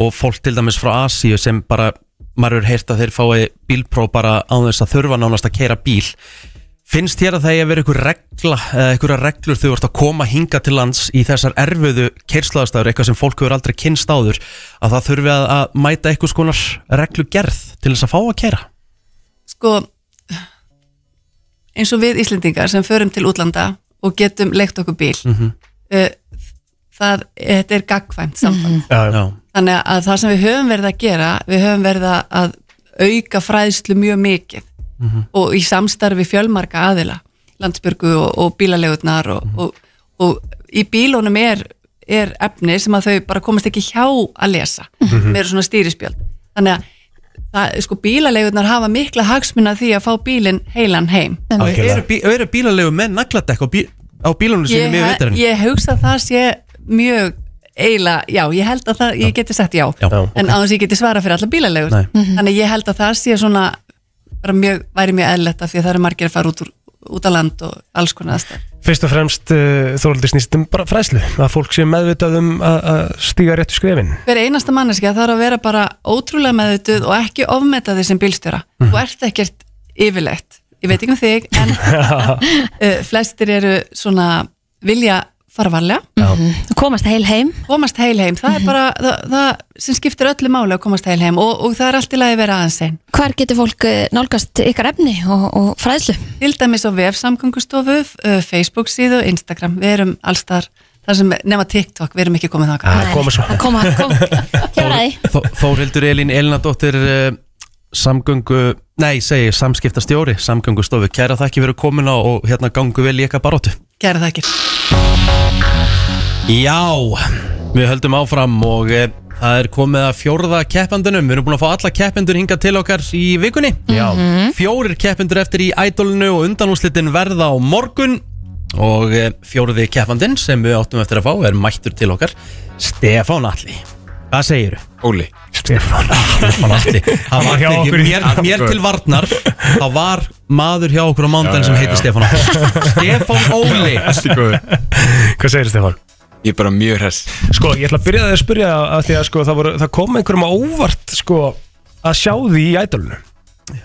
og fólk til dæmis frá Asíu sem bara maður er heyrt að þeir fái bílpróf bara á þess að þurfa nánast að keira bíl finnst þér að það er verið einhver regla eða einhverja reglur þegar þú ert að koma hinga til lands í þessar erfiðu keirslaðastæður eitthvað sem fólk hefur aldrei kynst áður að það þurfi að, að mæta einhvers konar reglugerð til þess að fá að keira
sko eins og við Íslendingar sem förum til útlanda og getum leikt okkur bíl mm það, þetta er gagkvæmt samband
Já,
Þannig að það sem við höfum verið að gera, við höfum verið að auka fræðslu mjög mikið og í samstarfi fjölmarka aðila, landsbyrgu og, og bílalegurnar og, og, og í bílunum er, er efni sem að þau bara komast ekki hjá að lesa með svona stýrispjöld. Þannig að það, sko, bílalegurnar hafa mikla hagsmuna af því að fá bílinn heilan heim.
eru, bí, eru bílalegu með nagladekk á, bí, á bílunum sínum í
Ég,
veitarinn?
ég hugsa að það sé mjög eiginlega, já, ég held að það, ég geti sagt já,
Já,
en á þess að ég geti svara fyrir alla bílalegur,
Nei.
þannig að ég held að það sé svona, bara mjög, væri mjög eðlilegt af því að það eru margir að fara út úr út á land og alls konar aðstæð
Fyrst og fremst uh, Þorvaldur snýst um bara fræslu að fólk sé meðvitað um að að stíga réttu skrefin
Hver einasta manneskja þarf að vera bara ótrúlega meðutuð og ekki ofmeta þig sem bílstjóra þú ert ekkert yfirlegt ég veit ekki um þig, en uh, flestir eru svona vilja farvarlega
Komast heil heim
komast heil heim, það er bara það, það sem skiptir öllu máli að komast heil heim og, og það er allt í lagi að vera aðeins einn
Hvar getur fólk eh, nálgast ykkar efni og, og fræðslu?
til dæmis á vefsamgangustofu Facebook síðu, Instagram, við erum allstar, þar sem, nema TikTok við erum ekki komið þangað,
að koma svo
Að koma, kom, hér að því
Þó- Þórhildur Elín Elinadóttir uh, samgöngu, nei segi ég, samskiptastjóri, samgöngustofu kæra þakki fyrir komuna og hérna gangu vel í eitthvað baróttu
gera það ekki
Já, við höldum áfram og eh, það er komið að fjórða keppandunum, við erum búin að fá alla keppendur hingað til okkar í vikunni Já. Fjórir keppendur eftir í ædolinu og undanúslitin verða á morgun og eh, fjórði keppandinn sem við áttum eftir að fá er mættur til okkar Stefán Alli Hvað segiru?
Óli
Stefán
Stefán Alli Það var
hjá
ekki-
okkur í-
mér, mér til varnar þá var maður hjá okkur á mándaginn sem heiti Stefán Alli Stefán Óli
Hvað segir Stefán?
Ég er bara mjög hress
Sko, ég ætla að byrja að að spyrja að því að sko, það, voru, það kom einhverjum á óvart sko, að sjá því í ædolinu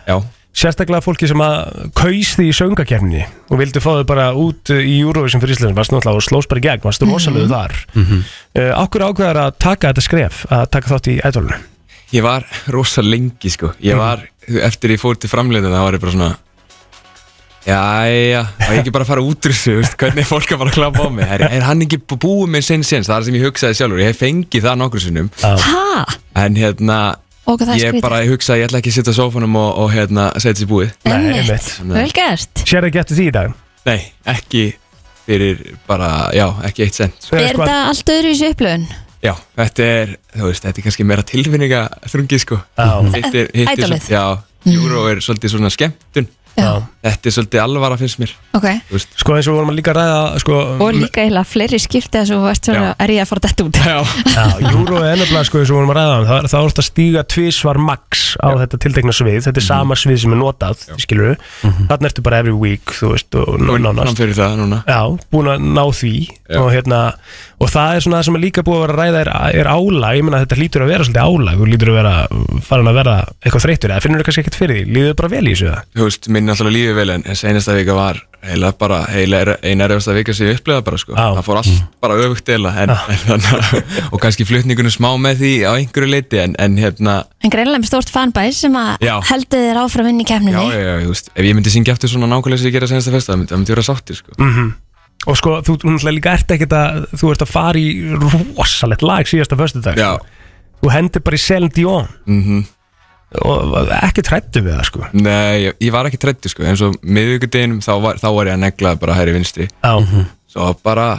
Já
Sérstaklega fólki sem að kaus því í söngakefni og vildi fá þau bara út í Eurovision fyrir Íslandin varst náttúrulega og slóst bara í gegn, varst rosalegu þar mm -hmm. uh, Akkur ákveðar að taka þetta skref að taka þátt í ædolinu
Ég var rosa lengi sko Ég var, eftir ég fór til framleiðin þá var ég bara svona Jæja, og ég ekki bara að fara út úr þessu þú veist, Hvernig er fólk að fara að klappa á mig Er, er hann ekki bú- búið með sinn sinn Það er það sem ég hugsaði sjálfur, ég hef fengið það nokkru sinnum
Ha?
En hérna,
Og hvað það er
ég
skrítið?
bara hugsaði Ég ætla ekki að sitja á sófanum og, og hérna, setja þessi búið
Nei,
Einmitt.
einmitt.
Vel gert
Sér ekki eftir því í dag?
Nei, ekki fyrir bara, já, ekki eitt sent sko.
Er
Er
eitthvað-
þetta allt öðru í sér upplöðun?
Já, þetta er, þú veist, þetta er kannski meira tilfinninga þrungi, sko
Já,
Hitt er- hitt er
Ædolið.
svo- Já, júró er svolítið svona skemmtun
Já.
Þetta er svolítið alvara finnst mér
Ok
þú veist.
sko eins og við vorum að líka að ræða sko,
Og líka eiginlega fleiri skipti að svo varst svona
Já.
er ég að fara dætt út
Já,
Já, júró er ennabla sko eins og við vorum að ræða um, það, það er orðið að stíga tvísvar max á þetta tiltekna svið, þetta er sama svið sem er notað, skilur við, þarna ertu bara every week, Mhm. þú veist, og
komin
nánast
fram fyrir það núna
Já, búin að ná því
Já.
og hérna, og það er svona það sem er líka búið að vera að ræða er, er álag, ég meina að þetta lítur að vera svolítið álag og lítur að vera farin að vera eitthvað þreyttur eða finnur þú kannski ekkert fyrir því, líður þér bara vel í þessu það
þú veist, minn alltaf lífið vel en en seinasta vika var heila bara, heila eina erfasta vika sem ég upplega bara sko,
Á.
það fór allt bara öfugt eila en, en þannig að- og kannski flutningunum smá með því á einhverju leiti en, en hérna,
En greinlega með stórt fanbæð sem að
Já.
heldur þér áfram inn í kemninni
já, já, já, þú veist ef ég myndi syngja aftur svona nákvæmlega sem ég gera seinasta festa það myndi, það myndi vera sáttir sko
og sko, þú þú náttúrulega líka ert ekkert að þú ert að fara í rosalegt lag síðasta föstudag, sko.
já,
þú hendir bara í Selin Dion
mhm
og ekki trættu við það sko
Nei, ég, ég var ekki trættu sko, eins og miðvíkudeginum þá var, þá var ég að negla bara hæri vinstri
Já,
Svo bara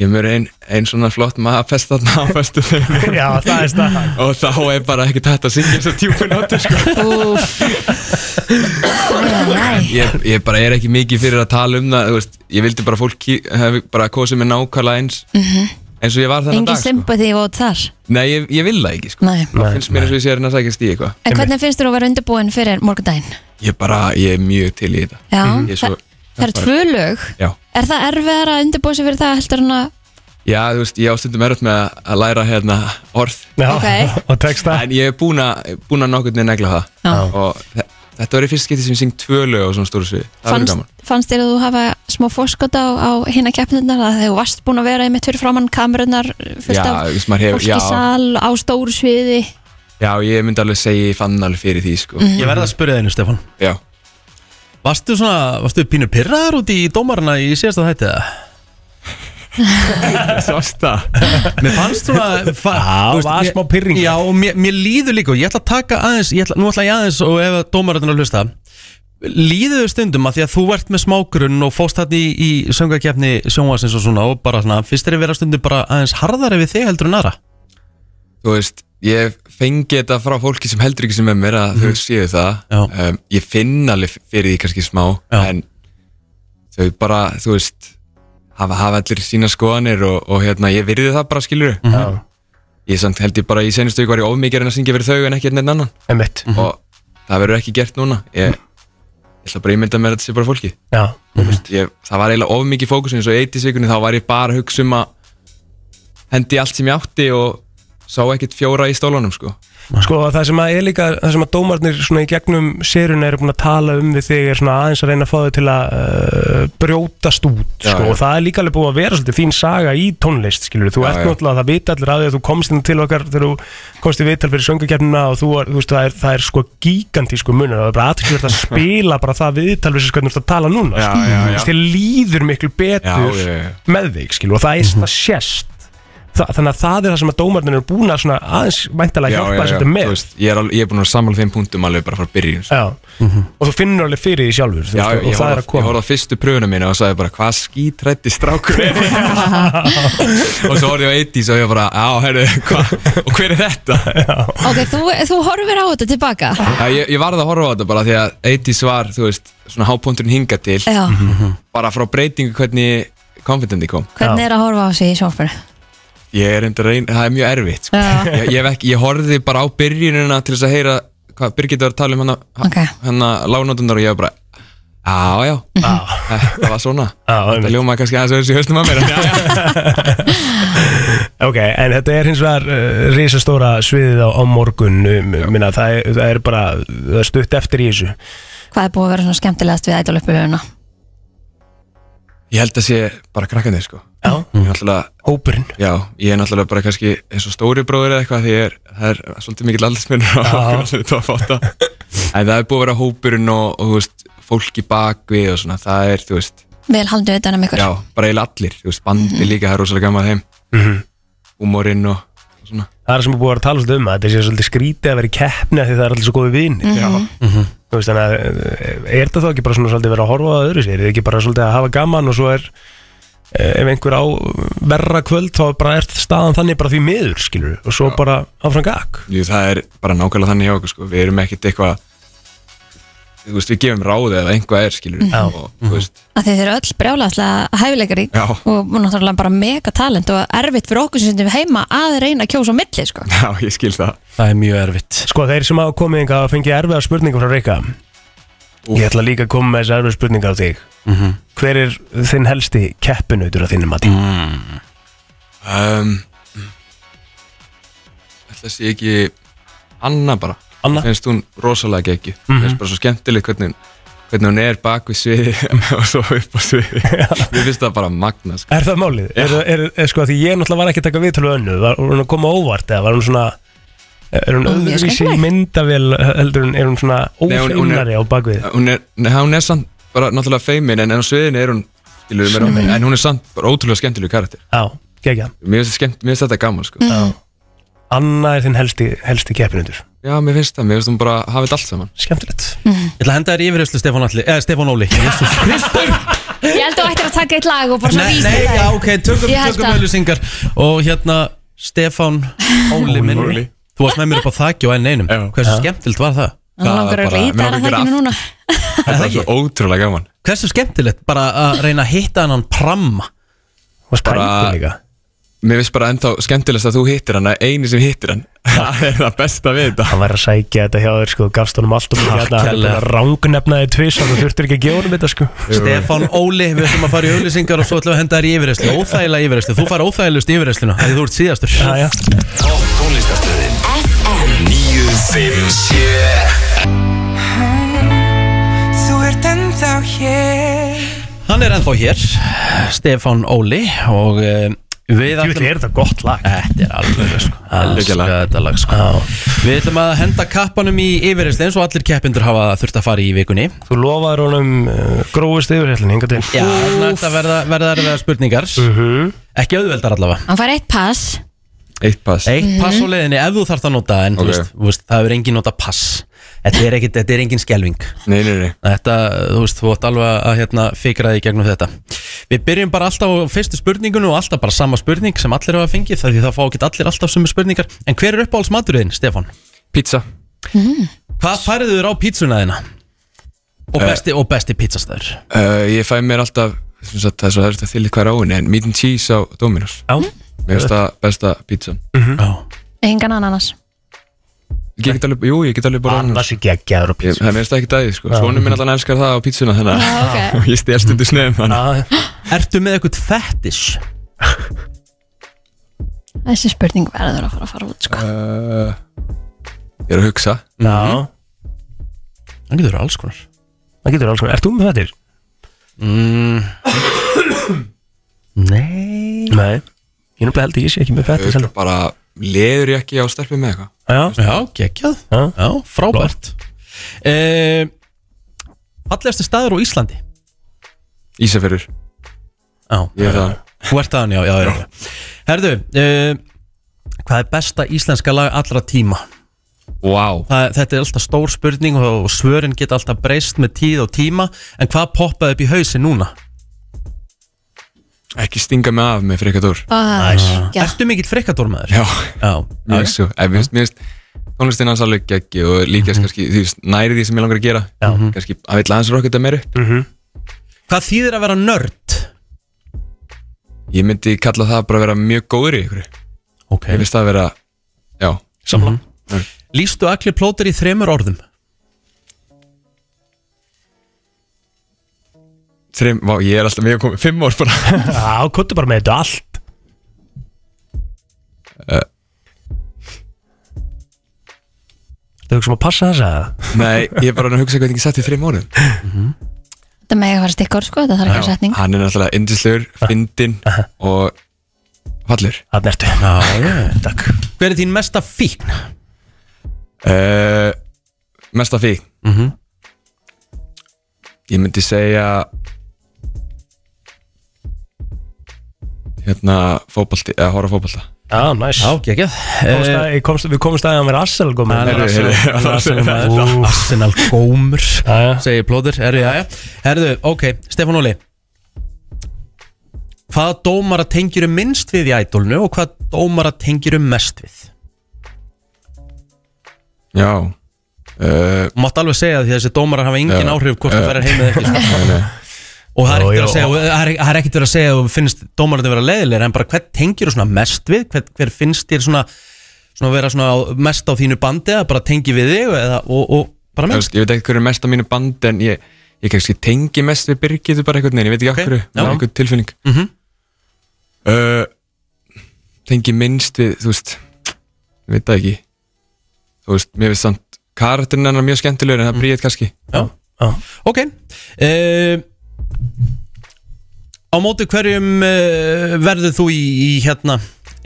kemur ein, ein svona flott maður að festa þarna á festu þeim
já það er stað
Og þá er bara ekki tætt að syngja þessar tjúfin áttur sko
Nei,
ég, ég bara er ekki mikið fyrir að tala um það, þú veist Ég vildi bara fólk ký- hafi bara kosið mér nákvæmlega eins
Mhm.
Eins og ég var þennan
engin
dag sko.
sympathy vót þar
Nei, ég, ég vil það ekki sko
Nei.
Það finnst mér eins og ég sé hérna að sækjast í eitthvað
En hvernig finnst þér að vera undirbúin fyrir morgundaginn?
Ég bara, ég er mjög til í þetta
Já,
Ég er
það,
svo-
það eru tvö lög
Já
Er það erfiðar að undirbúa sig fyrir það heldur en að
Já, þú veist, ég ástundum erut með að- að læra hérna orð
Já,
Ok.
og texta
En ég hef búin að búin að nokkurni negla það
Já.
Og þe- þetta var í fyrst skipti sem ég syng tvö lög á svona stóru svið Það var gaman
fannst, fannst þér að þú hafa smá fórskot á, á hinna keppnirnar að þú varst búin að vera einmitt fyrir framann kamerunar fullt
Já,
af
þess maður hefur
fólki í
já,
sal á stóru sviði
já, ég myndi alveg segja ég fann alveg fyrir því sko
Mhm.
Ég verði að spyrja þeirinu, Stefan
Já,
Varstu svona, varstu pínu pyrraðar út í dómarna í síðasta þætti það?
sást það
Mér fannst svona fa
Já,
þú veist,
var
mér-
smá pirringur.
Já, og mér, mér líður líka og Ég ætla að taka aðeins, ég ætla, nú ætla ég aðeins og ef dómarinn er að hlusta Líður þau stundum að því að þú ert með smágrunn og fóst þarna í, í söngakefni sjónvarsins og svona og bara svona Fyrst er að vera stundum bara aðeins harðari við þig heldur en aðra
Þú veist, ég fengi þetta frá fólki sem heldur ekki sem er mér að þau séu það
Mhm. Já.
um, Ég finn alveg fyrir því kannski smá
Já.
En þau bara, þú veist hafa, hafa allir sína skoðanir og, og hérna, ég virði það bara skilur
Mm.
Já,
Ég samt held ég bara í senustu ykkur var ég ofmikið en að syngja fyrir þau en ekki einn einn annan
emitt
Mhm.
og það verður ekki gert núna ég, ég ætla bara að ímynda mér að þetta sé bara fólki
Já,
Mhm.
ég, það var eiginlega of mikið fókus eins og eitt í svikunni þá var ég bara að hugsa um að hendi allt sem ég átti og sá ekkert fjóra í stólunum sko.
Sko það sem að er líka, það sem að dómarnir svona í gegnum séruna eru búin að tala um við þig er svona aðeins að reyna að fá þau til að uh, brjótast út
Já,
sko
já.
og það er líka alveg búið að vera svolítið þín saga í tónlist skilur þú
Já,
ert
já.
náttúrulega, það vita allir að því að þú komst inn til okkar þegar þú komst í viðtal fyrir söngukeppnina og þú, er, þú veist það er, það er sko gigantísku munur það er bara aðtrykkur að spila bara það viðtal við sem hvernig þú ert að tala núna
Já,
sko.
já,
Þú
já.
veist, þér líður miklu betur
Já, já, já.
með þig skilur og
Mhm.
það er það sérst Þa, þannig að það er það sem að dómarnir eru búin að svona aðeins væntalega hjálpa þess að þetta með
Þú veist, ég, er alveg, ég er búin að vera sammála þeim punktum alveg bara frá byrjun sko.
Já, og þú finnur alveg fyrir því sjálfur þú
Já,
veist,
ég,
og
ég
það er að
horfði á- ég
koma
horfði á fyrstu pröfuna mína og sagði bara hvað skítrætti strákur er þetta?" og svo horfði ég á 80s og ég bara, á, herru, hvað, og hver er þetta?
Ok, þú, þú horfir á þetta tilbaka
Já, ég, ég varð að horfa á þetta bara því að 80s var, þú veist, svona hápóndurinn hinga til
Já,
bara frá breytingu hvernig confidenti kom
hvernig er að horfa á sig í sjónfæri?
ég er enda reyn, það er mjög erfitt sko.
Já.
ég, ég, hef ekki, ég horfði bara á byrjunina til þess að heyra hvað Birgit var að tala um hana,
Ok.
hana lágnótundar og ég var bara já, já,
Mhm.
Eh, það var svona
Já,
það
einmitt.
ljómaði kannski aðeins þessi höstum að mér en já, já.
Ok, en þetta er hins vegar uh, risastóra sviðið á, á morgun um, minna, það, er, það er bara það er stutt eftir í þessu
Hvað er búið að vera svona skemmtilegast við ædolöpulöfuna?
ég held að sé bara krakkandi sko.
Já,
ég, er náttúrulega-
hópurinn
já, ég er náttúrulega bara kannski eins og stóri bróður eða eitthvað því ég er, það er svolítið mikill aldersminnur á okkur sem þetta var fóta en það er búið að vera hópurinn og, og þú veist, fólki bakvið og svona, það er, þú veist
Vel haldið utan um ykkur
Já, bara eiginlega allir, þú veist, bandi líka, það er rosalega gaman að þeim Húmorinn og, og svona
Það er sem er búið að tala svolítið um að þetta sé svolítið skrítið að vera í keppni af því það er allir svo góði vini mm -hmm. veist, Þannig að eh, er þetta þá ekki bara svona svolítið verið að horfa á öðru sér er þetta ekki bara svolítið að hafa gaman og svo er eh, ef einhver á verra kvöld þá bara er staðan þannig bara því miður skilur og svo bara áfram gag
Jú, það er bara nákvæmlega þannig hjá okkur, sko Við erum ekkert eitthvað Þú veist, við gefum ráð eða einhvað er, skilur
Já.
og, þú veist,
að þið eru öll brjálaðslega hæfileikari
Já.
og náttúrulega bara mega talent og erfitt fyrir okkur sem stundum heima að reyna að kjósa á milli sko.
Já, ég skil það
Það er mjög erfitt
Sko þeir sem hafa komið yngar að fengið erfiða spurningar frá Rikka Ég ætla líka að koma með þessi erfiða spurningar á þig Hver er þinn helsti keppinautur að þinni mati?
um, ætla að sé ekki Anna bara
Anna?
finnst hún rosalega geggju mm finnst bara svo skemmtilegt hvernig, hvernig hún er bak við sviði og svo upp á sviði mér finnst það bara magna sko.
Er það málið? Er, er, er, sko, því ég náttúrulega var ekki að taka viðtölu við önnu Var var hún að koma á óvart eða var hún svona Er hún
Mjög
öðruvísi í
skemmtileg.
myndavél heldur hún, er hún svona
Nei, hún- hún er-
ófeimnari á bakvið
hún er, neða, hún er samt bara náttúrulega feimin en, en á sviðinu er hún skilur, meira, en hún er samt bara ótrúlega skemmtileg karakter
Já, gegja
mér finnst, skemmt, mér finnst þetta gaman sko.
Anna er þinn helsti, helsti keppinundur
já, mér finnst það, mér finnst hún bara hafa þetta allt saman
Skemmtilegt
Mm.
Ég ætla að henda þér yfirherslu Stefán Alli Eða Stefán Óli Jesus Kristur
Ég held að þú ættir að taka eitt lag og bara svona
Nei,
vísa
nei,
þær.
já, ok, tökum,
Ég held
tökum
að-
auðlýsingar Og hérna, Stefán Óli minn
Óli.
Þú varst með mér upp á þakki og enn einum
Já.
Hversu skemmtilt var það?
Hann langar
Það
að
bara-
reyta
mig
hana
langar að gera
þakkinu
allt.
núna
þetta er
ekki?
svo ótrúlega gaman
Hversu skemmtilegt bara að reyna að hitta hann pramma
Hún var
Bara-
spændið líka
mér finnst bara ennþá skemmtilegst að þú hittir hann að eini sem hittir hann það er það besta við þetta
Hann var að sækja þetta hjá þér sko Gafst honum allt og mikið hérna Hann
kærlega.
er rangnefnaði tvís Þú þurftir ekki að gefa honum þetta sko
Stefán Óli, við ætlum að fara í auðlýsingar og svo ætlum við að henda þér í yfirherslu Óþægilega yfirherslu, þú fara óþægilegust í yfirhersluna Þegar þú ert síðastur
Já, já
Topp tónlistastöðin
FM
957
Hann er ennþá hér, Stefán Óli og uh, við
Þú
ætlum
er þetta gott lag
Þetta er alveg sko, elska
Gekkjalag.
þetta lag sko. Við ætlum að henda kappanum í yfirherslu eins og allir keppindur hafa þurft að fara í vikunni
Þú lofaður honum uh, grófust yfirhellin Hinga til
Já, þannig að þetta verða, verða erfiðar spurningar Ekki auðveldar allavega
Hann fær eitt pass
eitt pass
Eitt pass á leiðinni ef þú þarft að nota en þú
Ok.
veist, þú veist, það er engin nota pass Þetta er, ekkit, þetta er engin skelving
nei, nei, nei.
Þetta, þú veist, þú átt alveg að hérna, fikra þig í gegnum þetta Við byrjum bara alltaf á fyrstu spurningunum og alltaf bara sama spurning sem allir hafa fengið þar því það fá ekki allir alltaf sömu spurningar En hver er uppáhalds maturinn, Stefan?
pizza
Hvað færðu þurr á pítsuna þína? Og besti, og besti pizzastæður
uh, ég fæ mér alltaf sem sagt, það er svo erfitt að þylja hver á henni en meat and cheese á Dominos
Já
mér finnst það besta pizza
Já,
Engan ananas
ég get alveg, jú, ég get alveg bara annars
Annars er geggjaður og
Ég-
pizza
það mér finnst það ekki dæði sko. svonum minn allan elskar það á pizzuna þannig að
Ok.
ég stel stundu snefum þannig að
Já,
Ertu með eitthvað fetish?
Þessi spurning verður að fara að fara út
Ah.
sko.
Eh, ég er að hugsa
já
Það getur alls konar
Það getur alls konar. Ert þú með þetta?
Mm. Nei
Nei. Ég nefnilega held að ég sé ekki með þetta
Örugglega
sjálf.
bara leður ég ekki á stelpu með eitthvað
Já.
Já, geggjað
Já.
Já, frábært uh, Fallegasti staður á Íslandi
Ísafjörður,
Já,
ég er það
Þú ert aðan, já, já, já, já. Herðu, uh, hvað er besta íslenska lag allra tíma?
wow.
Það, þetta er alltaf stór spurning og, og svörin geta alltaf breyst með tíð og tíma En hvað poppaði upp í hausin núna?
ekki stinga mig af með frikadór
Næs Ah, Já,
Ertu mikill frikkadormaður?
já,
já,
mjög svo Ef mér finnst- mér finnst tónlistin hans alveg geggi og líka kannski, því, næri því sem ég langar að gera já. kannski að vilja aðeins rokkita meira upp
Hvað þýðir að vera nörd?
ég myndi kalla það bara að vera mjög góður í ykkur ég
Ok
finnst það að vera, já
Samla Lýstu allir plóter í þremur orðum?
Þrim, vá, ég er alltaf, ég hef komið fimm ár bara
Já, kottu bara með þetta allt.
Eh.
Þau hugsa um að passa þess að
nei, ég er bara að hugsa hvað ég ekki satt í þrim orðum
þetta með að fara stikkur sko, þetta þarf ekki að setning
hann er náttúrulega yndislegur, fyndinn og fallur
að nertu.
Já, já
Takk.
Hver er þín mesta fíkn?
uh, mesta fík ég myndi segja hérna fótbalti, eða horfa á fótbalta
Já, næs.
Já, Eh. geggjað
Komst að- ég komst- Við komumst aðeins að vera Arsenal gómið.
Hann er Arsenal- hann er Arsenal maður. Arsenal gómur
Já, já.
segir plóður, herru, já, já herru, ok, Stefán Óli hvaða dómara tengir um minnst við í ædolnu og hvaða dómara tengir um mest við
já uh,
mátt alveg segja því að þessi dómarar hafa engin
Já.
áhrif hvort þú
Já.
ferir heim eða ekki sko.
nei, nei.
og það er
Jó,
ekkert verið
jó.
að segja og það er- það er ekkert verið að segja og finnst dómararnir vera leiðilegir en bara hvert tengir þú svona mest við hver, hver finnst þér svona, svona vera svona á- mest á þínu bandi eða bara tengi við þig eða, og, og bara
Þú
minnst
veist, ég veit ekki hverju er mest á mínu band en ég, ég kannski tengi mest við Birgitu bara einhvern veginn, ég veit
Ok,
ekki okay. hverju,
já.
með einhvern tilfinning mm -hmm. uh, tengi minnst við, þú veist, ég veit það ekki þú veist, mér veist samt karakterinn hennar mjög skemmtilegur en það mm. bríðið kannski
Já,
Já.
ok uh, Á móti hverjum uh, verður þú í, í hérna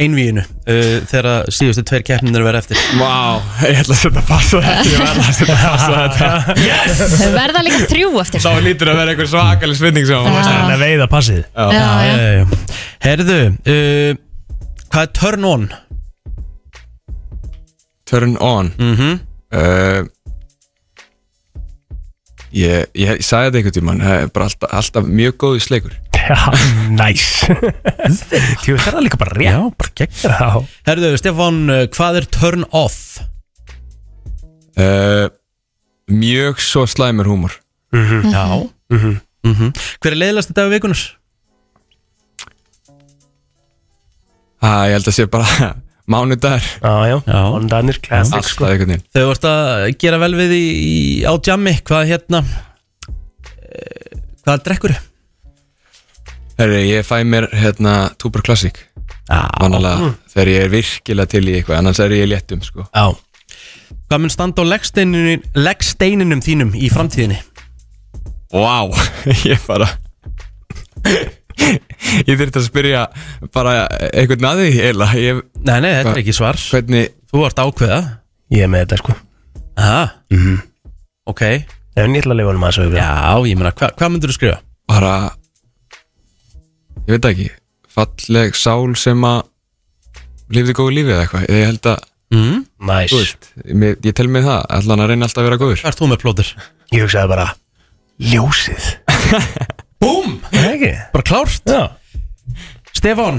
einvíinu uh, þegar síðustu tveir keppnir verða eftir
Vá, ég ætla að setja að passa þetta ég ætla að setja að passa þetta
Þau verða líka þrjú eftir sko.
þá lítur að vera einhver svakalig svinning sem
Ah.
hún
Það er að veiða passið
Já, já.
uh, Herðu uh, Hvað er turn on?
Turn on
Mm
uh, ég, ég, ég sagði þetta einhvern tímann það er bara alltaf, alltaf mjög góðu sleikur
Já, næs Þú þarf það líka bara rétt
Já, bara gegn
Já,
Herðu, Stefán, uh, hvað er turn off?
uh, mjög svo slæmur húmor
Já mm Hver er leiðilegasti dag vikunar?
það ég held að sé bara mánudagar
já, já,
Já.
Hondanir Classic
alltaf
sko.
einhvern veginn
Þau vorst að gera vel við í, í, á jammi Hvað hérna uh, Hvað drekkur?
Herri, ég fæ mér hérna Tuber Classic
Já
vanalega þegar ég er virkilega til í eitthvað annars er ég í léttum sko
Já Hvað mun standa á leggsteininu- leggsteininum þínum í framtíðinni?
Vá, ég bara Ég þurfti að spyrja bara einhvern aði heila ég,
Nei, nei, þetta er
Hva-
ekki svar
hvernig,
Þú ert ákveða
Ég er með þetta sko
Aha mm
Mhm.
Ok
En ég ætla að lifa honum að sögja
Já, ég meina, hva, hvað myndur þú skrifa?
bara ég veit það ekki falleg sál sem að lifði góðu lífi eða eitthvað ég held að,
Mm?
Næs
þú veist, mér, ég tel mig það allan að reyna alltaf að vera góður
Hvað ert þú með plóður?
Ég hugsaði bara Ljósið
Búm!
Það ekki
Bara klárt
Já
Stefán,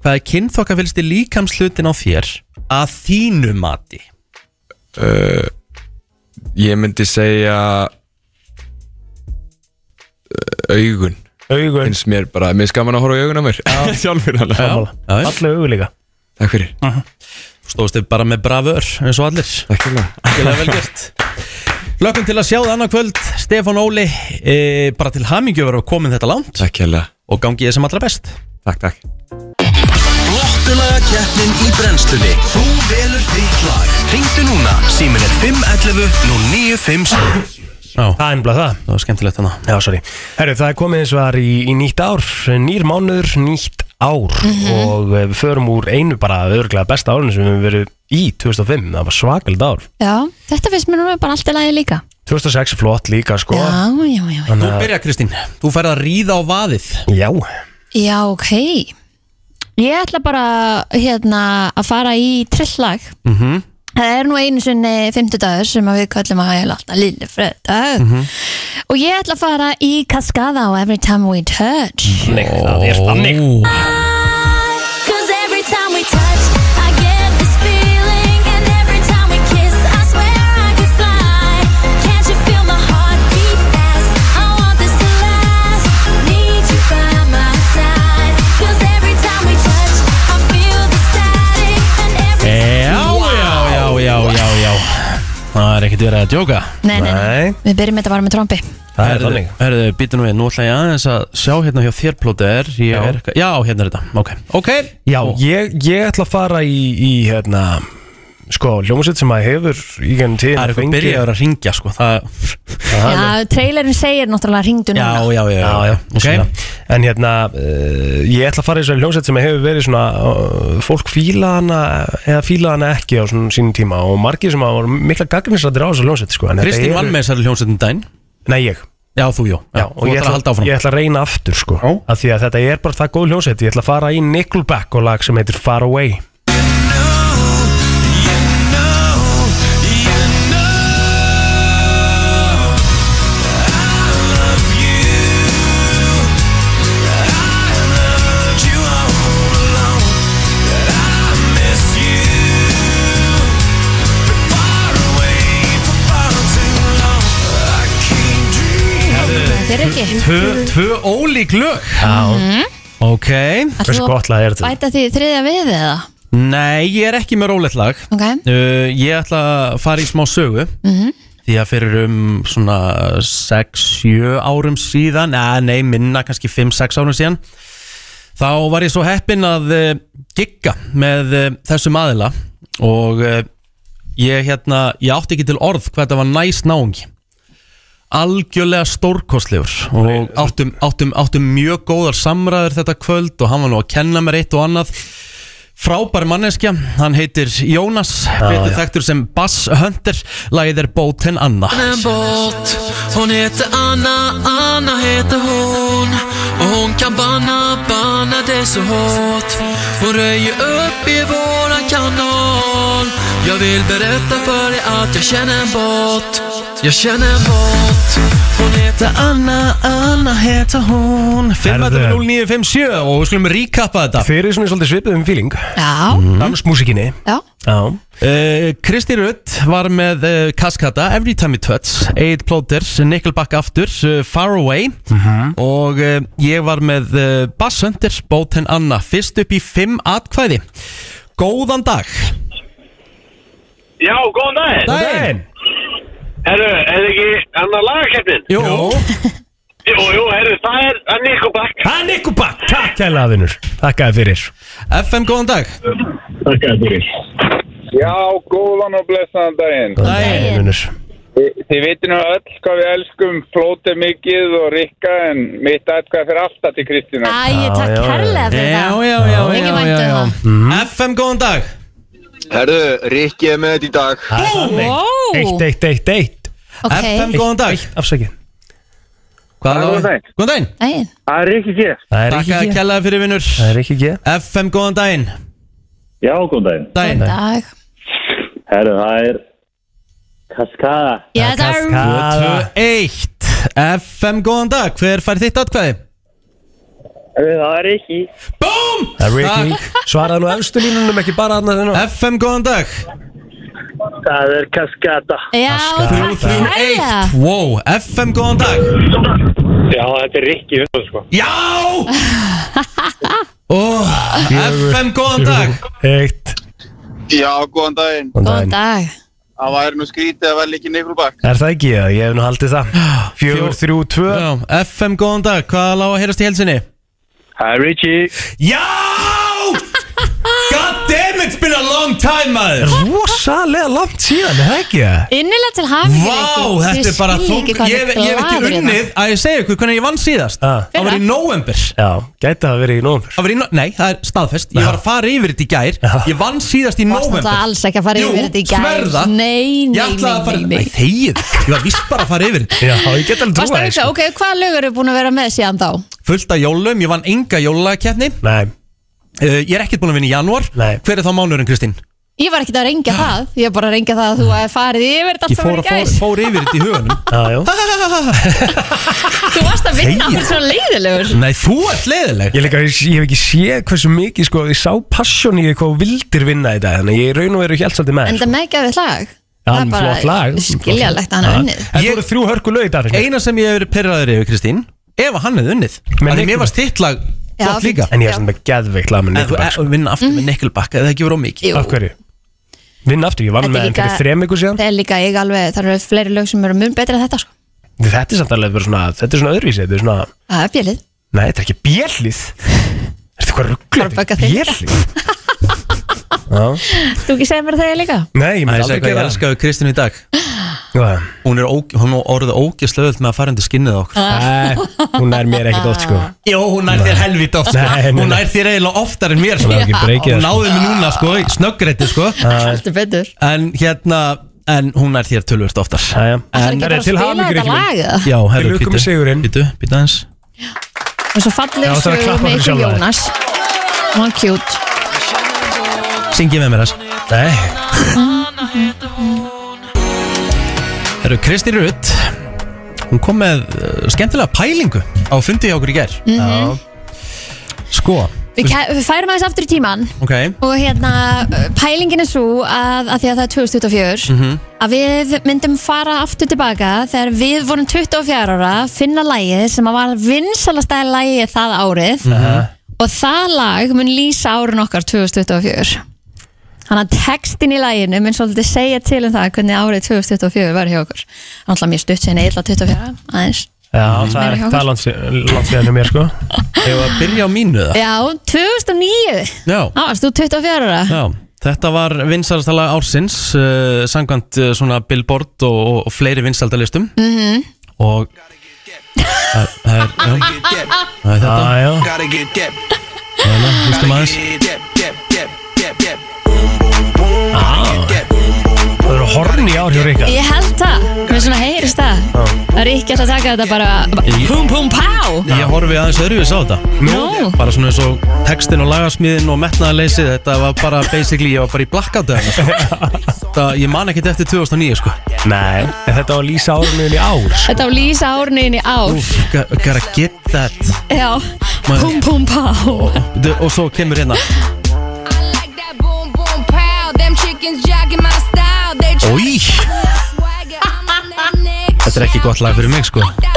hvað er kynþokka fylgst í líkamslutin á þér að þínu mati?
ég myndi segja uh, augun
Augun
finnst mér bara, mér skaman að horfa í augun á mér sjálfur alveg,
Já, já, já.
Allega augun líka
takk fyrir
Þú stóðst þig bara með bravör eins og allir
takk fyrir,
Skilja vel gert Lökkum til að sjá það annað kvöld Stefán Óli, e, bara til hamingjöfur að komin þetta langt
takk fyrir
og gangi ég sem allra best
takk, takk
Flottulaga keppnin í brennslunni Þú velur þitt lag Ringdu núna, símin er 511 Nú 957
Já,
Það er bara það
það var skemmtilegt þannig
Já, sorry Herru, það er komið eins og var í, í nýtt ár Nýr mánuður, nýtt ár Og eh, við förum úr einu bara Örglega besta árinu sem við höfum verið í 2005 Það var svakald ár
Já, þetta finnst mér núna bara allt í lagi líka
2006 er flott líka sko
Já, já, já, já
Þú byrja Kristín, þú færð að ríða á vaðið
Já
Já, ok Ég ætla bara hérna að fara í trillag Það er nú einu sinni fimmtudagur sem að við kallum að hægja alltaf lille fredag og ég ætla að fara í Cascada á Every Time We Touch
Nei, það er þannig
Cause every time we touch, I get this feeling. And every time we kiss, I swear I could fly. Can't you feel my heart beat fast? I want this to last. Need you by my side. Cause every time we touch, I feel the static. And every
Já, já, já, já, já, já Það er ekkert verið að djóka
Nei, nei, nei,
Nei,
við byrjum þetta bara með trombi
það er þannig
Herðu, býta nú við, nú ætla ég aðeins að sjá hérna hjá þér plóter Já. Er, eitthvað- já, hérna er þetta, ok Ok,
Já, ég, ég ætla að fara í, í hérna, sko, hljómsveit sem að hefur í gennum tíðin
það er eitthvað byrjaður að ringja sko það,
Já, trailerin segir náttúrulega ringdu
Já,
núna
já, já,
Já, já,
ok
vissulega. En hérna, uh, ég ætla að fara í þessari hljómsveit sem hefur verið svona, uh, fólk fíla hana eða fíla hana ekki á svona sínum tíma og margir sem að voru mikla gagnisrættir á þessari hljómsveit, sko. en þetta
Kristín
eru-
vann með þessari hljómsettin dæn
Nei, ég.
Já, þú, jú,
Já,
þú
og ég
ætlar að halda
ætla,
áfram
ég ætla að reyna aftur, sko, af því að þetta er bara það góð hljómsveit. Ég ætla að fara í Nickelback og lag sem heitir Far Away.
Þér ekki,
Tvö, tvö ólík lög
Já.
Ok
ætlum
Hversu
þú að
gott lag er þetta?
bæta því í þriðja við eða?
Nei, ég er ekki með rólegt lag
Ok,
uh, Ég ætla að fara í smá sögu
Mhm.
Því að fyrir um svona 6-7 árum síðan Nei, nei, minna kannski 5-6 árum síðan Þá var ég svo heppinn að uh, gigga með uh, þessum aðila og uh, ég, hérna, ég átti ekki til orð hvað þetta var næs náungi algjörlega stórkostlegur og áttum, áttum, áttum mjög góðar samræður þetta kvöld og hann var nú að kenna mér eitt og annað frábær manneskja, hann heitir Jónas, betur þekktur sem Bass Hunter, lagið er Bóten Anna
en båt Hon heter Anna, Anna heter hon Och hon kan banna, banna det så hårt Hon röjer upp i våran kanal Jag vill berätta för dig att jag känner en båt Jag känner en båt Hon heter
Anna, Anna heita hún 5.0957 og við skulum ríkappa þetta
Þeir eru svona í svolítið svipið um feeling
Já,
Mhm.
Dansmúsikinni
já,
Mhm. Já
uh, Kristi Rutt var með uh, Kaskata, Every Time We Touch Eid Plóter, Nickelback aftur uh, Far Away
Mhm.
og uh, ég var með uh, Bass Hunter Bóten Anna, fyrst upp í 5 atkvæði Góðan dag
Já, góðan daginn
Daginn
Herru, er ekki annar lagakeppnin?
Jú,
Jú, jú, herru, það er að Nikko Bakk
Hann ykkur bakk Takk hella aðvinur Takk að fyrir
FM góðan dag
Já, góðan og blessaðan daginn.
Daginn
Aðvinur
Þi, þið veitir nú öll hvað við elskum flótið mikið og rikka en mitt aðkvæð fyrir alltaf til Kristina.
Æ, ég takk herlega fyrir
Já,
það
já, já, já,
Mikið
já,
vænt
já,
um
já.
það.
Mhm.
FM góðan dag
Herðu, Rikki er með þetta í dag.
Wow.
Eitt, eitt, eitt, eitt
Ok,
FM góðan dag
Afsakið
Hvað
Góðan
er-
daginn.
Góðan daginn
Æ,
Það er Rikki G
Það er
Takk
ekki
að
ekki
kellaði fyrir vinnur
Það er ekki ekki
FM góðan daginn
Já, góðan daginn
Daginn
dag
Herru, það er Kaskada
Já, það er
Kaskada
2-1 FM góðan dag, hver fær þitt atkvæði?
Herru, það er Rikki
Búm!
Það er ekki ekki Svaraði nú elstu línunum ekki bara hann að þennan
FM góðan dag
Það er Kaskada
Já,
Kaskada.
takk herlega
3-1 Wow, FM góðan dag
Já, þetta er Rikki, veistu sko
Já! Oh, FM góðan dag
Eitt
Já, góðan daginn.
Góðan dag
Það væri nú skrítið að velja ekki Nikulbakk.
Er það ekki það? Ég hef nú haldið það Fjögur, þrjú, tvö
Já, FM góðan dag, hvað lág að heyrast í helsinni?
Það er Rikki
Já! God damn it's been a long time maður
Rosalega langt síðan, er það ekki það?
Innilega til hafið
Vá, þetta er bara þung Ég hef ég hef ekki unnið að ég segja ykkur hvernig ég vann síðast
Ah.
Það var í november
Já, gæti það að vera í nómur
Það var í, no- nei, það er staðfest Ég var að fara yfir þetta í
Já.
gær Ég vann síðast í
Varst
november
þetta alls ekki að fara
Jú,
yfir þetta í gær?
sverða.
Nei, nei,
Ég ætlaði að fara
nei, nei,
Æ, þegið Ég var vist bara að fara yfir þetta
Já, ég get alveg
Varst
sko. trúa
að hugsa, ok, hvaða lög eru búin að vera með síðan þá?
Fullt af jólum Ég vann enga jólakeppni
Nei,
uh, Ég er ekkert búin að vinna í janúar
Nei.
Hver er þá mánuðurinn, Kristín?
Ég var ekkert að rengja það, ég var bara að rengja það að þú að farið yfir
Ég
þetta allt saman
fór,
í
að-
gæs
fór, fór yfir þetta í hugunum
já, já
Þú varst að vinna á þessu svona leiðilegur
Nei, þú ert leiðileg
Ég, líka, ég, ég hef ekki séð hversu mikið sko, ég sá passion í hvað þú vildir vinna í dag þannig að ég í raun og veru hjælt svolítið með
En
sko.
það meðgæfið
þér.
lag
Já,
Það er bara
flott lag.
skiljanlegt að hann hafi
Já.
unnið.
En þú eru þrjú hörku lög í dag Kristín.
Eina sem ég hef verið perraður yfir, Kristín Ef að hann hefði unnið
Með
Þannig mér
Nickelback.
varst þitt lag
Já, Mhm.
gott
fínt.
líka
En ég er svona með geðveikt lag með
En þú
Nickelback
er
sko.
að vinna aftur með Nickelback Eða það ekki verið of mikið
Jú,
Af hverju? Vinn aftur, ég vann
Þetta er
með þeim fyrir
líka-
þrem ykkur síðan
það er líka ég alveg, það eru fleiri lög sem eru mun betri en þetta sko
Þetta er samt alveg bara svona, þetta er svona öðruvísi Þetta er svona,
Það er bjölið
nei þetta er ekki bjellið Þetta er hvað
Bara bögga
rugglega
þig.
Bjellið Já.
Þú ekki segja mér það ég líka?
Nei, ég
Æ,
myndi
ég segi hvað
aldrei
ég
gera það
elskaði Kristín í dag
Hvað?
Hún er óg- hún er orðið ógeðslega öll með að fara undir skinnið á okkur
Nei, Hún er mér ekkert oft sko
Jó, hún nær þér helvít oft sko.
Nei, nei, nei.
Hún nær þér eiginlega oftar en mér sko.
Hún er ekki
Hún
breykið það, sko.
náði mig núna, sko, snöggrætti sko.
Þetta er betur
En hérna, en hún nær þér tölvöld oftar
Jæja.
Það er ekki
En það
bara
er
að
til
spila
hamingur
þetta lag eða?
Já, herru,
lukku með sigurinn.
Býtu, býtu aðeins
Og svo fallir
Já, það er að
sögur
klappa
með
fyrir
ykkur
sjálfa þig.
Jónas Og hann kjút
Syngið með mér þess
Nei,
Herru, Kristi Rutt Hún kom með uh, skemmtilega pælingu Á fundi hjá okkur í ger
Mhm.
Sko,
Við, kæ- við færum aðeins aftur í tíman
ok
og hérna pælingin er svo að, að því að það er 2024 að við myndum fara aftur tilbaka þegar við vorum 24 ára finna lagið sem að var vinsalastæði lagið það árið og það lag mun lýsa árun okkar 2024 Þannig að textin í læginu mun svolítið segja til um það hvernig árið 2024 var hjá okkur. Þannig að mér stutt sinni illa 24 aðeins.
Já, það
Meira
er
hjá
ekki
okkur.
það langt síðan langt síðan hjá mér sko
Hefur að byrja á mínu það?
Já, 2009
Já.
Á, varst þú 24 ára?
Já, þetta var vinsælstala ársins uh, samkvæmt uh, svona billboard og, og, og fleiri vinsældalistum
Mhm.
og það það er, já, það er þetta
Já, já.
Jæna, hlustum aðeins
Það eru horn í ár hjá Ríka
Ég held það, mér svona heyrist það
Já.
Það er ekki alltaf að taka þetta bara, bara
Ég-
Pum pum pá
Ég horfi aðeins öðruvis á þetta
Nú.
Bara svona eins og textin og lagasmiðin og metnaðarleysi Þetta var bara basically, ég var bara í blackout eða eitthvað, sko. Það, ég man ekkert eftir 2009 sko
Nei, en þetta var lýsa árunniðin í ár sko.
Þetta á lýsa árinu inn í ár
Úf, gotta get that
Já,
Man-
pum pum pá
D- Og svo kemur hérna Í, þetta er ekki gott lag fyrir mig sko
Já,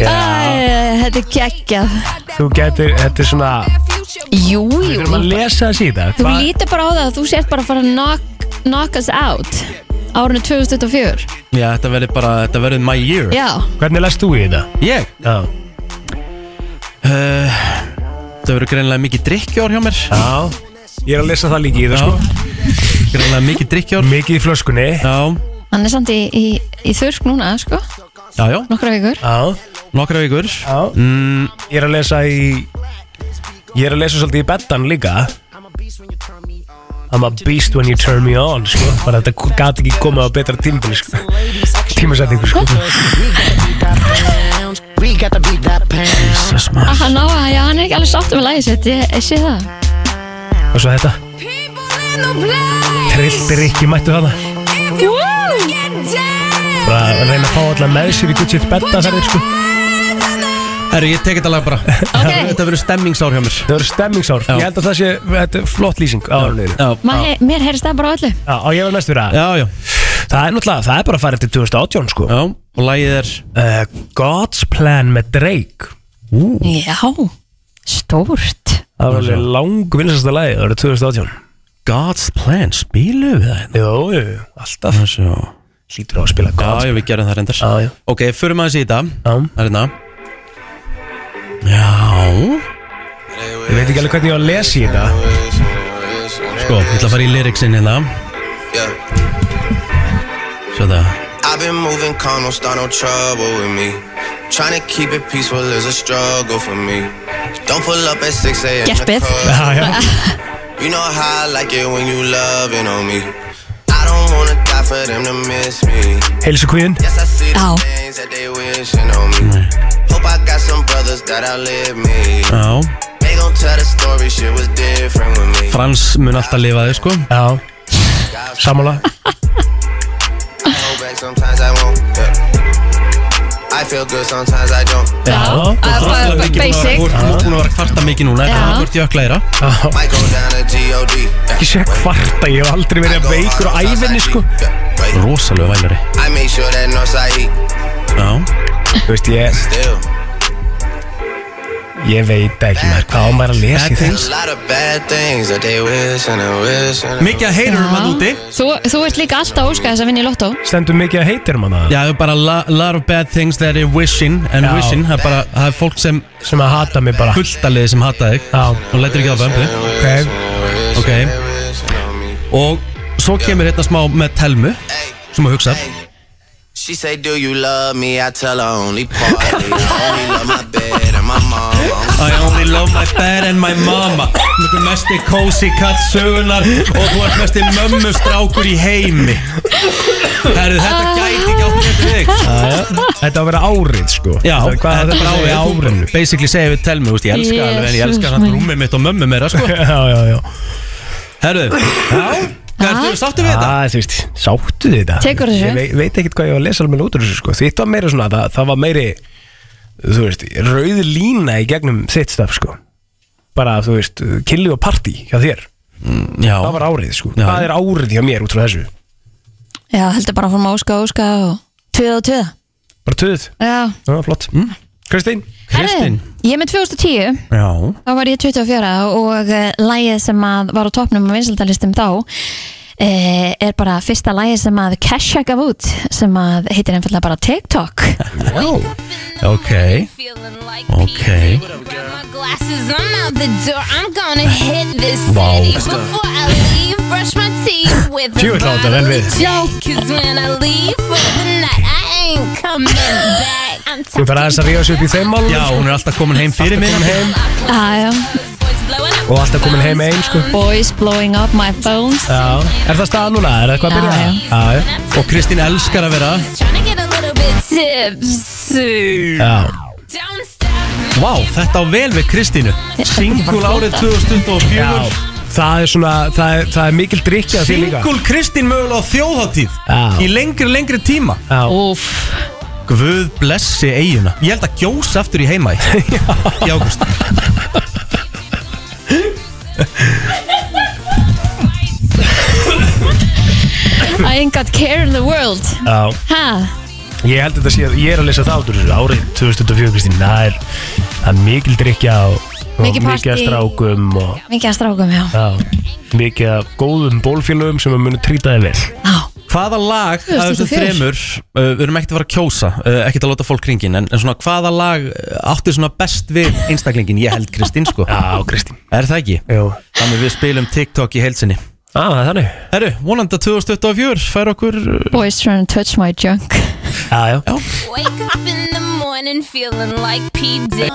Æ, Þetta er geggjað
Þú getur, þetta er svona
Jú,
Við
jú
þurfum að lesa þess í þetta
Þú
Hva-
lítur bara á það að þú sért bara að fara að knock, knock us out Árinu 2024
Já, þetta verður bara, þetta verður my year
Já,
Hvernig lest þú í þetta?
Ég?
Já,
Uh, það verður greinlega mikið drikkjár hjá mér
já Ég er að lesa það líka í það sko
Greinlega mikið drikkjár
Mikið í flöskunni
Já,
hann er samt í, í, í þurrk núna, sko
já, já,
Nokkra vikur
Já,
nokkra vikur
já
mm,
Ég er að lesa í Ég er að lesa svolítið í bettan líka I'm a beast when you turn me on sko. Bara þetta gati ekki komið á betra tímbili sko. Tímasetningu sko.
Jesus maður
Hann á að, já, hann er ekki alveg sátt með lagið sitt Ég, ég sé það
Og svo þetta Trilltir ekki mættu þarna Bara að reyna að fá alla með sér í guttsitt betta ferðir sko.
Herru, ég tek þetta lag bara
Ok.
Þetta verður stemmingsár hjá mér
Það eru stemmingsár
Já.
Ég held að það sé þetta er flott lýsing á árunniðinu
Já,
Ma, he, Mér heyrist það bara á öllu
Já, og ég var næstur að
já, já,
Það er náttúrulega, það er bara að fara til 2018 sko.
já Og lagið er
uh, God's Plan með Drake
Já, stórt
Það var alveg lang vinsasta lagi, það var 2018
God's Plan, spilum við það hérna
Jú, jú, jú, alltaf
Það er svo
Lítur á að spila
Já,
God's Ah,
já, við gerum það reyndar
Já, já.
Ok, förum aðeins í þetta
Plan
Það er hérna Já
Ég veit ekki alveg hvernig ég á að lesa í þetta
Sko, ég ætla að fara í lyricsin hérna Svo það
I've been moving calm, don't start no trouble with me. Trying to keep it peaceful is a struggle for me. Don't pull up at 6 a.m.
Gert betur.
Já, Ah, já,
You know how I like it when you loving on me. I don't wanna die for them to miss me.
heilsu kvíðin
Yes, I see
Ow.
the things that they wishing on me. Hope I got some brothers that outlive me.
Já,
They gon' tell the story, shit was different with me.
Frans mun alltaf lifa þig sko
Já,
Got
sammála
hold back, sometimes I won't. Yeah. I feel good, sometimes I don't.
Já,
Það er
Þú
bara
ert búin að vera-
basic
Þú ert búin að vera að kvarta mikið núna
Já.
Þetta er hvort jöklæra
já
Might go down to G.O.D. yeah.
Ég sé kvarta, ég hef aldrei verið veikur á æfinni sko
Yeah, right.
Rosalega vælari
I make sure that Northside eat
Já
Þú veist, ég,
still.
ég veit ekki maður hvað á maður að lesa
Bad
í þetta
things.
A lot of bad things that they wish and they wish and they
Mikið að heitur um að úti
þú, þú ert líka alltaf óskæðis að vinna í lottó
Stendur mikið að heitir manna
Já, það er bara a lot of bad things that are wishing and
Já.
wishing Það er bara, það er fólk sem
sem að hata mig bara
fulltaliði sem hata þig
Já,
Hún lætur ekki á það
ok
Ok
wishing on me.
Og svo kemur hérna smá með telmu
Hey,
Sem að hugsa
hey. She say, do you love me? I tell her only partly. I only love my bed and my mom.
I only love my bed and my mama Þú er mesti cozy cut sögunar Og þú ert mesti mömmu strákur í heimi Herru, þetta gæti ekki átt með þig
Þetta á að vera árið sko
Já,
Hvað
þetta
þetta
er bara á
segja í árinu
Basically segja við telmi, veist, ég elska
Jesus
alveg En ég elska hann
minn.
rúmið mitt og mömmu meira, sko
Já, já, já
Herru, já, hvernig sáttu við þetta?
Það, Ah, þú veist, sáttu þið þetta
Tekur þessu?
Ég vei, veit ekkert hvað ég var að lesa alveg út úr þessu sko Þitt var meira svona, það, það var meiri Þú veist, rauð lína í gegnum þitt stöf sko Bara, þú veist, killi og party hjá þér
Mm, Já,
Það var árið sko
Já.
Það er árið hjá mér út frá þessu
Já, heldur bara að fórum óska, óska og tveða og tveða
Bara töðuð,
Já,
það var flott Kristín,
Mm. Kristín
Herðu, Ég er með 2010,
Já,
eh, þá var ég 24 og uh, lægið sem að var á topnum á vinsaldalistum þá eh, er bara fyrsta lagi sem að Kesha gaf út sem að heitir einfallega bara TikTok
wow. Ok Ok
Glasses, I'm out the door. I'm gonna hit this
Vá.
city before I leave. Brush my teeth with a
Djöfull á þetta
bottle
vel
of
við.
Jack. Cause when I leave for the night, I ain't coming back. I'm
Þú er bara aðeins að ríða sér upp í þeim málum
Já, hún er alltaf komin heim fyrir mig
heim
ah,
Og alltaf komin heim einn sko
Boys blowing up my phones
Já, er það staðan núna? Er það eitthvað að
Já,
byrja? Já, já
Og Kristín elskar að vera
trying to get a little bit tipsy.
Já
Don't
Vá, þetta á vel við Kristínu Singul árið 2004
Já, það er svona, það er, það er mikil drikkja því líka
Singul Kristín mögulega á þjóðháttíð
Já.
Í lengri, lengri tíma
Úf
Guð blessi eiguna Ég held að gjósa aftur í heima í Í águst
I ain't got care in the world
Já,
Ha?
ég held að þetta sé að ég er að lesa það út úr þessu árið 2004 Kristín Það er, það er mikil drikkja og,
Mikið
og mikið að
partí.
strákum og
Mikið að strákum, já
Já, mikið af góðum bólfélögum sem að munu trýta þið vel
Hvaða lag af þessum
2004?
þremur uh, Við erum ekkert að fara að kjósa uh, Ekkert að láta fólk ringin en, en svona hvaða lag uh, átti svona best við einstaklingin Ég held Kristín sko
Já, Kristín
Er það ekki?
Jú
Þannig við spilum TikTok í heilsinni
Já, ah, þannig
Herru, vonandi að 2024 fær okkur uh,
Boys trying to touch my junk
Já, já,
já.
Wake up in the morning feeling like P. Diddy.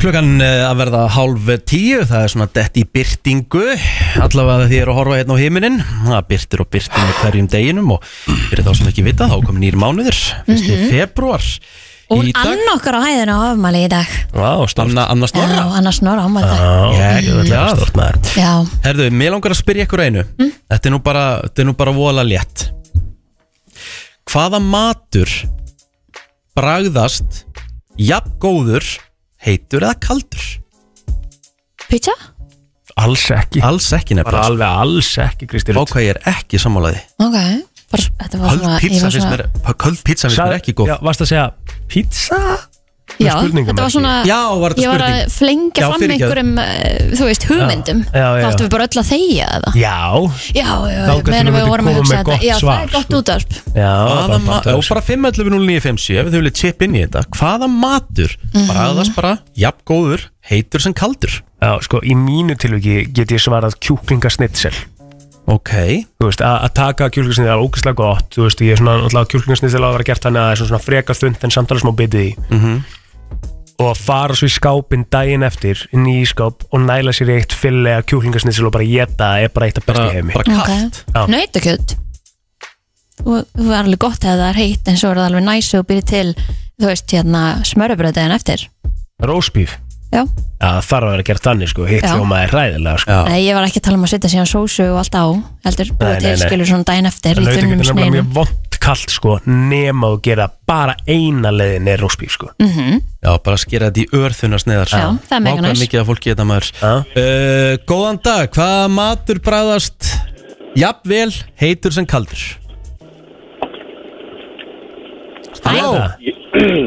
Klukkan eh, að verða hálf tíu, það er svona dett í byrtingu, allavega því ég er að horfa hérna á heiminin, það byrtir og byrtir með hverjum deginum og fyrir þá sem ekki vita þá komin nýri mánuður, fyrst í
Mhm.
februar
Og
í dag,
ann okkar á hæðinu á afmæli í dag
Vá,
Anna, Anna
Já,
Snorra,
annars norra ámæli í dag
já, stort
maður.
Já,
Herðu, mér langar að spyrja ykkur einu,
Mm.
þetta er nú bara, þetta er nú bara vola létt. Hvaða matur bragðast jafn góður, heitur eða kaldur?
pizza?
Alls ekki
Alls ekki nefnilega.
Bara alveg alls ekki, Kristín
Ah. Vá hvað ég er ekki sammálaði
Ok Bara, þetta var
Köld
svona ég
pizza
var
finnst
svona-
mér Köld pizza finnst mér
Sagði-
ekki góð
Já, varst að segja pizza?
Já, þetta var svona
Já, var þetta
Ég var að
spurning?
flengja
Já,
fram
fyrirgefðu.
einhverjum eh, Þú veist, hugmyndum
Já, já, já.
Þá áttum við bara öll að þegja það
Já
Já, já,
Þá gætum
meðan
við
við vorum að
komið
hugsa
með
þetta.
gott
Já, það
svar,
er gott útvarp
Já,
Hvaða
bara-
matur Og bara 5.11.0957 Ef þið viljið chip inn í þetta Hvaða matur
Mhm.
Bræðast bara Jafn góður Heitur sem kaldur
Já, sko, í mínu tilviki get ég svarað kjúklingasnitsel
Ok
Þú veist, að að taka kjúklingasnitsel er ógeðslega gott Þú veist, ég er svona, náttúrulega kjúklingasnitsel á að vera gert þannig að það er svona- svona freka þund en samtala smá bitið í og að fara svo í skápinn daginn eftir inn í ískáp og næla sér í eitt fyllega kjúklingasnitsel og bara geta er bara eitt af besti í heimi
bara
Já.
Ok Nautakjöld Þú þú er alveg gott ef það er heitt En svo er það alveg næs og byrja til Þú veist, hérna, smörubröðin eftir
Rósbíf
Já.
Það þarf að vera gert þannig sko, hitt
Já.
hljóma er ræðilega sko
Nei, ég var ekki að tala um að setja síðan sósu og allt á Heldur, búið
Nei,
til
nei, nei.
skilur svona daginn eftir Í
Nautakjöt er
þunnum
nefnilega
sneinu
mjög vond kallt sko nema að gera bara eina leiðin er rósbíf sko
Mhm.
Já, bara skera þetta í örþuna sneiðar
Já, það er mega
Vákvæm
næs.
mikið að fólki þetta maður uh, Góðan dag Hvaða matur bræðast Jafn vel Heitur sem kaldur
Halló.
Mm.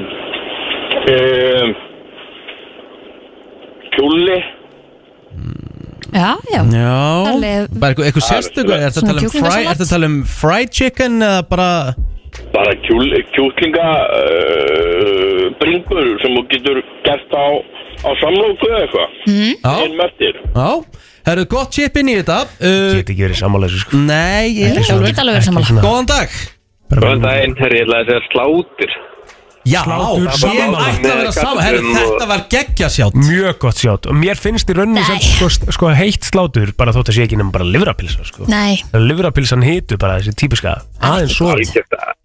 um, Kjúli
Já, já
Mm.
Já
Alveg-
Bara eitthvað- eitthvað sérstöku Er þetta að tala um
Svona
fry- ertu að tala um fried chicken Eða bara
Bara kjúl, kjúklinga uh, bringur sem þú getur gert á, á samlóku eða eitthvað
Já.
Einn mörtir
Já Það eru gott chip inn í þetta uh,
Get ekki verið sammála þessu sko
Nei, ég
Jú, ég get alveg verið sammála.
Góðan dag
Góðan daginn, herri, ég ætla að segja slátur
Já,
Slátur,
ég
sammála.
ætti að vera saman Herru, þetta var geggja sjátt
Mjög gott sjátt og mér finnst í rauninni sem sko, sko heitt slátur bara þótt að sé ekki nema bara livrapilsa sko
Nei,
Livrapilsan hitu bara þessi típiska aðeins svo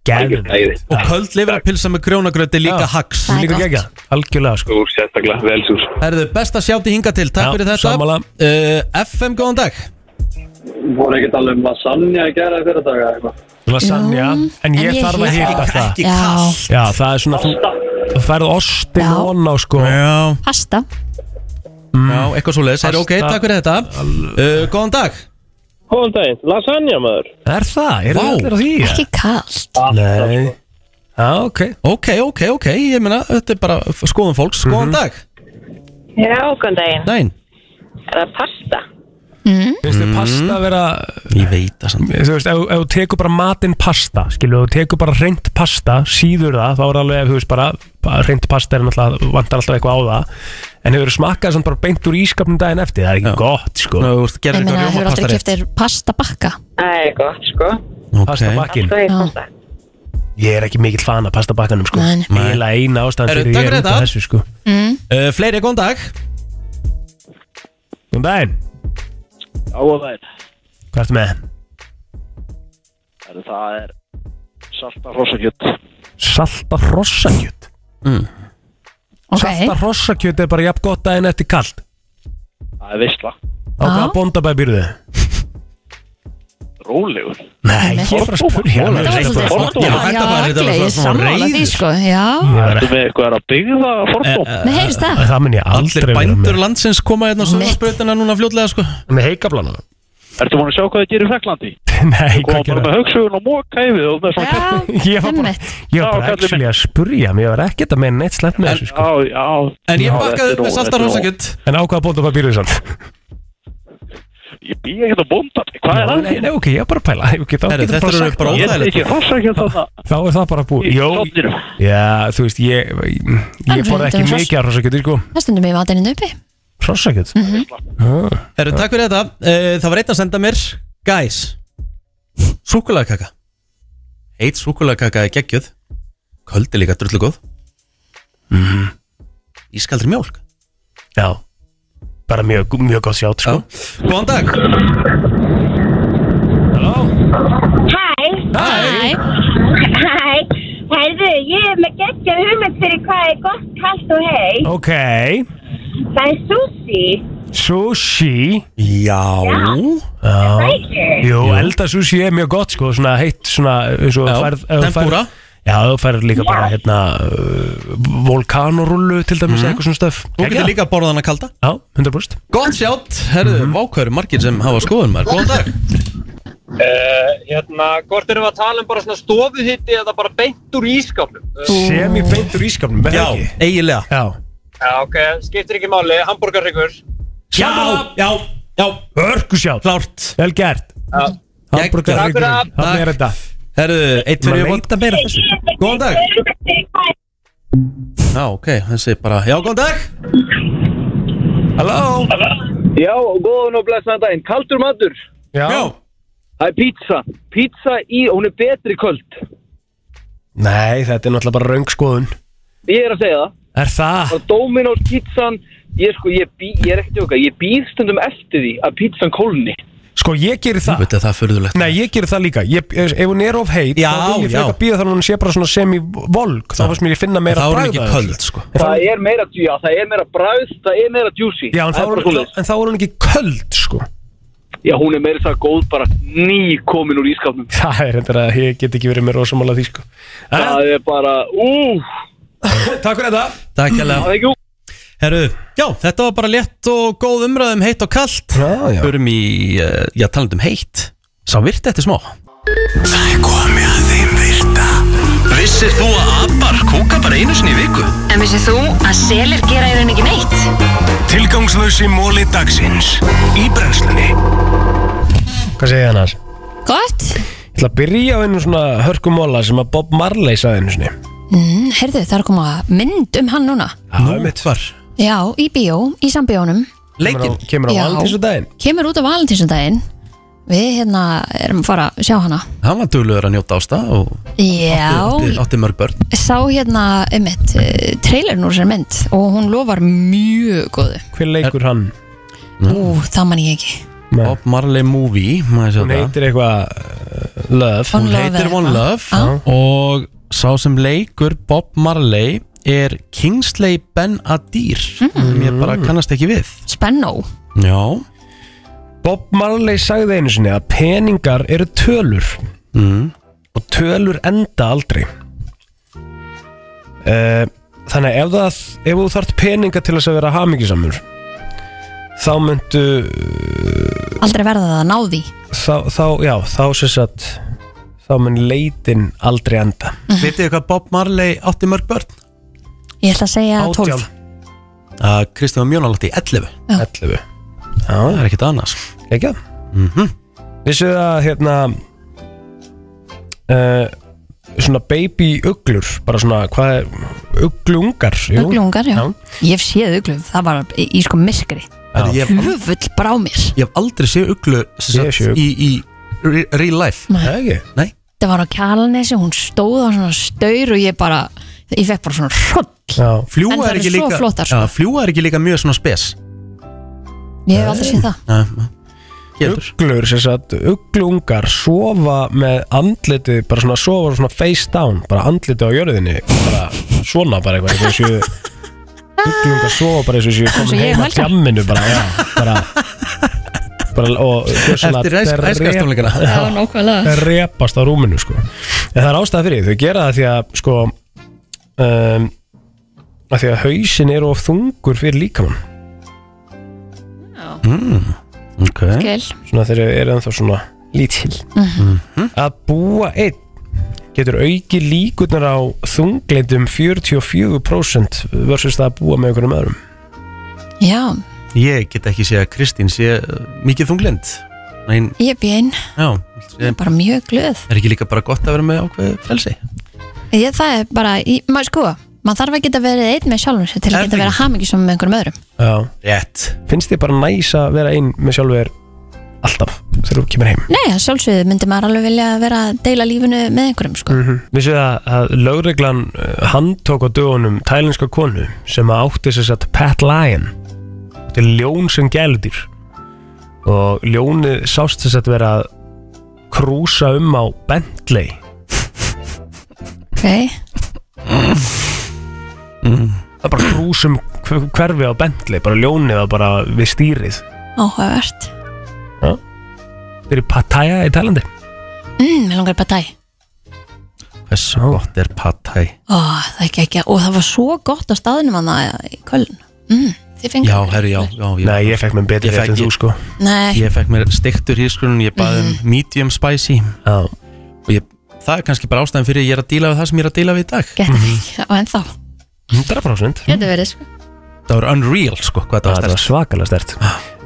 Gæðin
Og köld livrapilsa með grjónagröti líka hax
Það er
Líka
gott.
gegja, algjörlega sko
Þú sérstaklega vel súr
Herru, besta sjátt í hinga til Takk
Já,
fyrir þetta
sammála.
uh, FM, góðan dag
voru ekki að tala um lasagna í gera fyrir daga eitthvað.
Lasagna, en ég þarf að hita það
Já,
Já, það er svona þú þú færð ostin
Já.
von á sko
Já,
pasta
Mm. já eitthvað svo leiðis Herru, ok,
Pasta.
takk fyrir þetta uh, Góðan dag
Góðan daginn, lasagna maður
Er það? Er
Vá.
það allir að því?
Ekki kallt
Nei Já, ok
Ok, ok, ok, ég meina, þetta er bara
Mhm.
skoðum fólks Góðan dag
Já, góðan daginn.
Dæin
Er það pasta?
mm.
Finnst þið pasta að vera
Mhm. Ég veit það samt
Þú veist, ef ef þú tekur bara matinn pasta Skilu, ef þú tekur bara reynd pasta Síður það, þá er alveg, þú veist, bara Reynd pasta er náttúrulega, vantar alltaf eitthvað á það En hefur smakkað samt bara beint úr ískapnum daginn eftir Það er ekki gott, sko
Ná, þú veist,
Ég meina, hefur aldrei keftir pasta bakka
Það er gott sko
Pasta bakkin
Alltaf í pasta
Ég er ekki mikill fan af pasta bakkanum, sko
Nei,
nei.
Ég er eina ástæðan
Herru,
fyrir
takk
ég er
fyrir
út af
þetta.
þessu, sko
mm.
uh, Fleiri, góðan dag
Góðan daginn,
Áðvæðin,
hvað ertu með?
það er salta rosakjött
Salta hrossakjöt mm. Salta hrossakjöt er bara jafn gott daginn eftir kalt
Það er veistla
Á hvaða bóndabæð býrðu?
Rólegur
Nei, ég er bara að spurja
Þetta var svolítið fordómar. Já, þetta var- þetta hérna, var
Ég er
svona
sammála því sko Já
Ertu með eitthvað að byggja það fordóm?
Nei, heyrist það?
Það mun ég aldrei
Allir bændur landsins koma hérna á sögurspöytina núna fljótlega sko
Með heikablanum
Ertu múin að sjá hvað það gerir í Fraklandi?
Nei,
hvað gerir það? Með högsugun og móka yfir og með svona
Ég var bara, ég var bara actually að spurja Mér var ekkert að meina neitt slemt með þessu sko
Já, já
En ég
Já, þetta
bakkaði
er
upp með
ró-
salta
þetta er ró-
hrossakjöt. En á hvaða bóndabæð býrðu samt?
Ég bý ekkert á bónda Hvað er
Nei,
það?
nei, nei, ok, ég er bara að pæla okay, þá
Herru,
getur
þetta
bara
eru
sagt
bara
það.
Ég óþægilegt. ekki hrossakjöt þarna.
Þá er það bara búið
Í
Jó,
stofninum.
já, þú veist, ég Ég
Alveg
borð ekki
reyndar hross.
mikið af hrossakjöti, sko
Það stundum ég matinn uppi
Hrossakjöt Ah.
Mhm.
Herru, takk fyrir þetta uh, Það var einn að senda mér Guys Súkulagakaka Heit súkulagakaka er geggjöð Köld er líka drullu góð mm. Ískaldri mjólk
Já Bara mjög, mjög gott sjátt, sko
Góðan dag
Hæ Hæ Hæ Herðu, ég er með geggjað hugmynd fyrir hvað er gott, kallt og heitt
Ok
Það er sushi
Sushi
Já
Já
Það ekki?
Jú, elda sushi er mjög gott, sko Svona heitt, svona eins og
Já,
færð- ef þú færð-
tempura.
Já, þú færð líka bara, hérna uh, Volkanorullu, til dæmis,
Mhm.
eitthvað svona stöf
Þú getur líka að borða hana kalda
Já, 100%
Gott sjátt, herru,
Mhm.
mm -hmm. vákværu margir sem hafa skoðun maður Góðan dag
Uh, hérna, hvort erum við að tala um bara svona stofuhitti eða bara beint úr ískapnum?
Sem í beintur ískapnum, með
Já,
ekki
eiginlega
Já
Já, ok, skiptir ekki máli, hambúrgarryggur.
Já,
já, já
Örkusjátt
Klárt
Vel gert Hamburgerryggur Hann er þetta
Herru, eitt
Maður
fyrir
veit
vonda meira af þessu Góðan dag Já, ok, þessi bara Já, góðan dag Halló
Já, góðan og blessaðan daginn. Kaldur matur.
Já.
Það er pizza. Pizza í, hún er betri köld.
Nei, þetta er náttúrulega bara raungskoðun
Ég er að segja það.
Er það?
Og Dominos pizzan, ég sko, ég, bý, ég er ekkert okkar, ég býð stundum eftir því að pizzan kólni.
Sko, ég gerir það
Þetta er það förðulegt
Nei, ég gerir það líka ég, Ef ef hún er of heit
Já,
Þá vil ég
já.
freka býða þannig að hún sé bara svona semi-volk Þá fannst mér ég finna
Þá
meira
er hún
bragð
ekki
af þessu.
köld, sko.
En þá-
Það er meira, já, það er meira bræð, það er meira juicy.
Já, en þá
Það er
er
bara
hún-
svoleiðis.
en þá er hún ekki köld, sko
Já, hún er meira það góð bara ný komin úr ískapnum.
Það er þetta að ég get ekki verið með rosamála því, sko
Það er bara, úf.
Takk fyrir þetta.
Takk hérlega Herru, já, þetta var bara létt og góð umræðum heitt og kallt Já, já Förum í, eh, já, talandum heitt Sá virti eftir smá
Það er komið að þeim virta Vissir þú að abar kúka bara einu sinni í viku?
En vissið þú að selir gera í rauninni ekki neitt?
Tilgangslösi móli dagsins Í brennslunni
Hvað segir það annars?
Gott
Ég ætla að byrja á einu svona hörkumóla sem að Bob Marley sagði einu sinni
mm, Herðu, það er að koma mynd um hann núna
Nú, mitt var
Já, í bíó, í sambíónum
Leikin Kemur á
Já.
valdinsudaginn
Kemur út á valentínsundaginn Við hérna erum að fara að sjá hana
Hann var duglegur að njóta ásta og
Já,
átti, átti mörg börn
sá hérna einmitt eh, trailerinn úr sér mynd og hún lofar mjög góðu
Hver leikur hann?
Ú, það man ég ekki
Bob Marley Movie Hún
Hún heitir eitthvað uh, Love
Hún Ah.
Love Ah.
heitir
eða
One
eitthvað.
Love Og sá sem leikur Bob Marley er Kingsley Ben Adir sem ég bara kannast ekki við
Spennó
Já
Bob Marley sagði einu sinni að peningar eru tölur mm. og tölur enda aldrei uh, Þannig að ef, það, ef þú þart peninga til þess að vera hamingisamur þá myndu
Aldrei verða það að ná því
þá, þá, já, þá sér satt þá mun leitin aldrei enda
Vitið þið hvað Bob Marley átti mörg börn?
Ég ætla að segja 12
Að Kristján Mjónan átti 11
Já.
11
Það er ekkert sko. Mhm. annars
Ekki Vissuð að hérna uh, Svona baby uglur Bara svona, hvað er Uglungar jú.
Uglungar, já. Ég hef séð uglum, það var í, í sko myrkri
Herri, ég hef al-
Höfull brá mér
Ég hef aldrei séð uglu sem
Ég hef séð
sagt, í, í re- real life
Nei.
Ekki?
Nei
Það var á kjalanesi, hún stóð á svona staur og ég bara, ég fekk bara svona hroll En
Fljúa
þær
er ekki
eru svo
líka
flottar, sko.
Já, Fljúa er ekki líka mjög svona spes
Ég hef aldrei séð það
Uglur, sem sagt, uglungar sofa með andlitið, bara svona sofa svona face down, bara andlitið á jörðinni bara svona bara eitthvað eins og séu uglungar sofa bara eins og séu
Eins og
komin
ég
heim að
Helga.
tjamminu bara, já, bara, bara og gjörsamlega
Eftir æsk-
drep-
æskastónleikana.
Já,
Já, nákvæmlega.
Þeir repast á rúminu sko en það er ástæða fyrir því, þau gera það því að sko um, að því að hausin eru of þungur fyrir líkamann
mm, Ok
Skil.
Svona þegar þau eru ennþá svona lítil Að búa einn getur auki líkurnar á þungleindum 44% versus það að búa með einhverjum öðrum
Já,
Ég get ekki séð að Kristín sé uh, mikið þunglind Nein,
ég er björn
já sé,
Bara mjög glöð
Er ekki líka bara gott að vera með ákveð frelsi
ég, Það er bara, í- maður sko maður þarf að geta verið einn með sjálfum sér til að geta verið hamingisum með einhverjum öðrum
Já
Rétt
Finnst þið bara næs að vera einn með sjálfur alltaf þegar þú kemur heim
Nei, að sjálfsögðu myndi maður alveg vilja vera að deila lífinu með einhverjum sko.
Mhm.
mm -hmm. Vissu það að lögreglan eh, handtók á dögunum tælenska konu sem að átti þess að Pat Lyon átti ljón sem gæludýr og ljónið sást þess að vera að krúsa um á Bentley
Ok,
það er bara krúsum hver- hverfi á Bentley bara ljónið að bara við stýrið
áhugavert
ja. fyrir Pattaya í Tælandi
mm, Mér langar bara dæ
Hversu gott er pad thai
Ó, það er ekki ekki, og það var svo gott á staðinum hann í Köln mm, Þið fengur
Já, herri, já, já ég,
Nei, ég fekk mér betri
Ég
rétt
fekk-
en þú,
ég-
sko.
Nei.
Ég fekk mér stektur hýrskrunum, ég baði
Mhm.
um medium spicy
Já
Og ég, það er kannski bara ástæðan fyrir að ég er að díla við það sem ég er að díla við í dag
Geta ekki, og ennþá
100%
Geta verið sko
Það var unreal, sko, hvað það var
Það var svakalega stert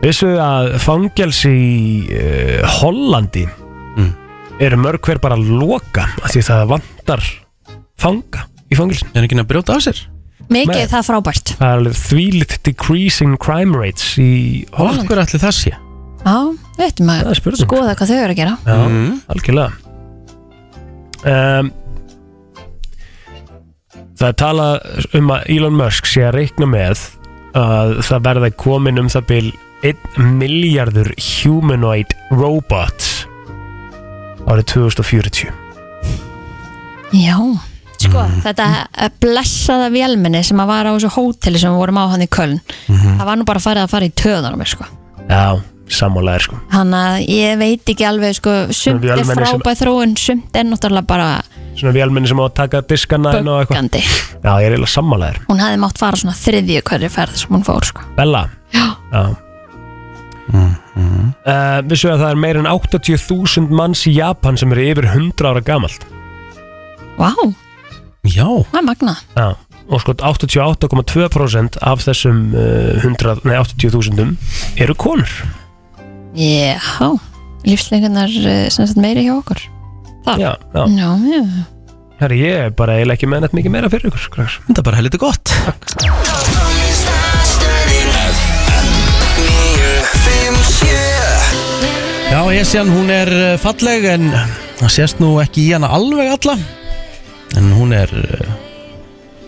Vissu að fangelsi í uh, Hollandi eru mörg hver bara að loka af því það vantar fanga í fangelsin
Er ekki að brjóta af sér?
Mikið
Nei.
er það frábært
Það er alveg þvílitt decreasing crime rates í Hollandi
Hver ætli það sé?
Já, við veitum að skoða hvað þau eru að gera
Já, algjörlega um, Það er talað um að Elon Musk sé að reikna með að það verða komin um það bil 1 miljardur humanoid robots árið 2040
Já, sko,
Mm.
þetta eh, blessaða vélminni sem að var á þessu hóteli sem við vorum á hann í Köln
Mhm.
það var nú bara farið að fara í töðanum sko.
Já, sammálaðir sko
Þannig að ég veit ekki alveg sko, sumt er
vélmenni sem-
frábæð þróun sumt er náttúrulega bara
Svona vélmenni sem á að taka diskana inn og eitthvað.
Böggandi.
Já, ég er eiginlega sammálaðir
hún hefði mátt fara svona þriðju hverju ferð sem hún fór sko.
Bella
Já.
mm -hmm. uh, Vissu að það er meir en 80.000 manns í Japan sem eru yfir 100 ára gamalt
Vá,
Já
það er magnað
Já Og sko 88,2% af þessum uh, 100, nei 80.000 eru konur
Já, lífslengunar sem sagt meiri hjá okkur Það,
Já, já.
já, já.
Herri, ég er bara eiginlega ekki með nætt mikið meira fyrir ykkur krakkar.
Þetta er bara helviti gott Já, ég sé hann, hún er eh, falleg en það sést nú ekki í hana alveg alla en hún er eh,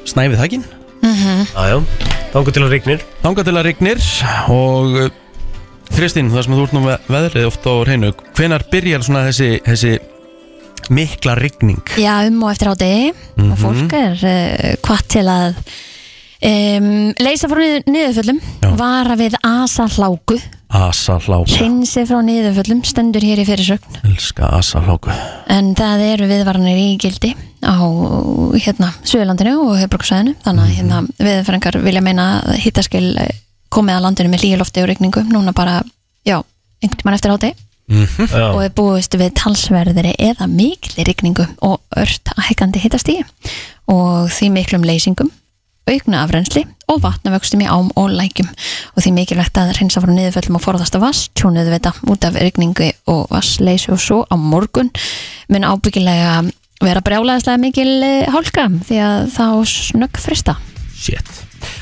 snæfið þakkin
Jájá, þanga til að rignir
Þanga til að rignir og eh, Kristín, það sem þú ert nú með veðrið oft á reynu, hvenar byrjar svona þessi, þessi mikla rigning?
já, um og eftir á degi
Mhm.
og fólk er uh, hvað til að um, leysa frá niður, niðurföllum
Já.
vara við asa hláku
Asalháku,
hreinsi frá niðurföllum, stendur hér í fyrirsögn
elska asalháku
en það eru viðvaranir í gildi á hérna Suðurlandinu og Höfbruksvæðinu þannig að hérna
Mhm.
viðfæringar vilja meina að hittaskil komið að landinu með lílofti og regningu núna bara, já, einhvern tímann eftir áti
Já.
og er búist við talsverðri eða mikli regningu og ört að hækandi hittast í og því miklum leysingum aukna afrensli og vatnavöxtum í ám og lækjum og því mikilvægt að reynsa frá niðurföllum og forðast vass tjónuðu þetta út af rigningu og vassleysi og svo á morgun mun ábyggilega vera brjálaðislega mikil eh, hálka því að þá snögg frista
Shit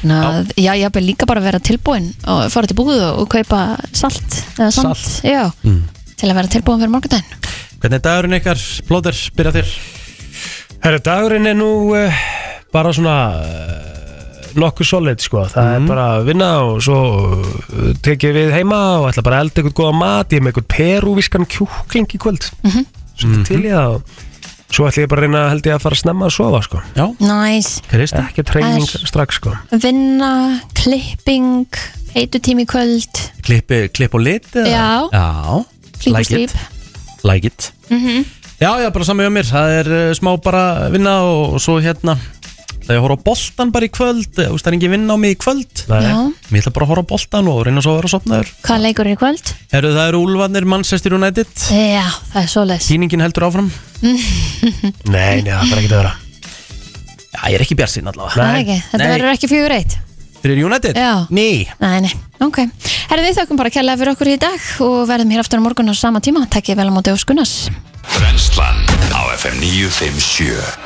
Þannig að, já, ég hafði líka bara að vera tilbúin og fara til búðu og kaupa salt eða sand, já,
Mm.
til að vera tilbúin fyrir morgundaginn.
Hvernig er dagurinn ykkar, Blóður, byrja þér?
Herra, dagurinn er nú uh, bara svona uh, nokkuð solid sko, það
Mhm.
er bara að vinna og svo uh, tek ég við heima og ætla bara að elda eitthvað góða mat, ég er með eitthvað perúviskan kjúkling í kvöld
Mhm.
svolítið til ég það og svo ætla ég bara að reyna held ég að fara að snemma að sofa sko
Já,
Næs.
Kristi
Ekki treyning
Æs.
strax sko
Vinna, klipping, heitutími í kvöld,
Klippi, klipp og lit? eða?
Eh. Já.
Já,
klíp og Mhm.
Like it.
strýp.
like it Já, já, bara sami hjá mér, það er uh, smá bara vinna og, og svo hérna Þegar ég horf á boltan bara í kvöld, eh, þú veist það er engin vinna á mig í kvöld
Já.
Mér ætla bara að horfa á boltan og reyna svo að vera sopnaður
Hvað leikur er í kvöld?
Herru, það eru Úlfarnir, Manchester United
Já, það er svoleiðis.
Kýningin heldur áfram
Nei, nei, það er ekki að vera
Já, ég er ekki bjart sín allavega
Það er ekki, þetta verður ekki fjögur eitt.
Þeir eru United?
Já.
Nei
Nei, nei, ok. Herði, við þökkum bara kærlega fyrir okkur í dag og verðum hér aftur á morgun á sama tíma. Takk ég vel á móti og skunas.
Brenslan á FM 957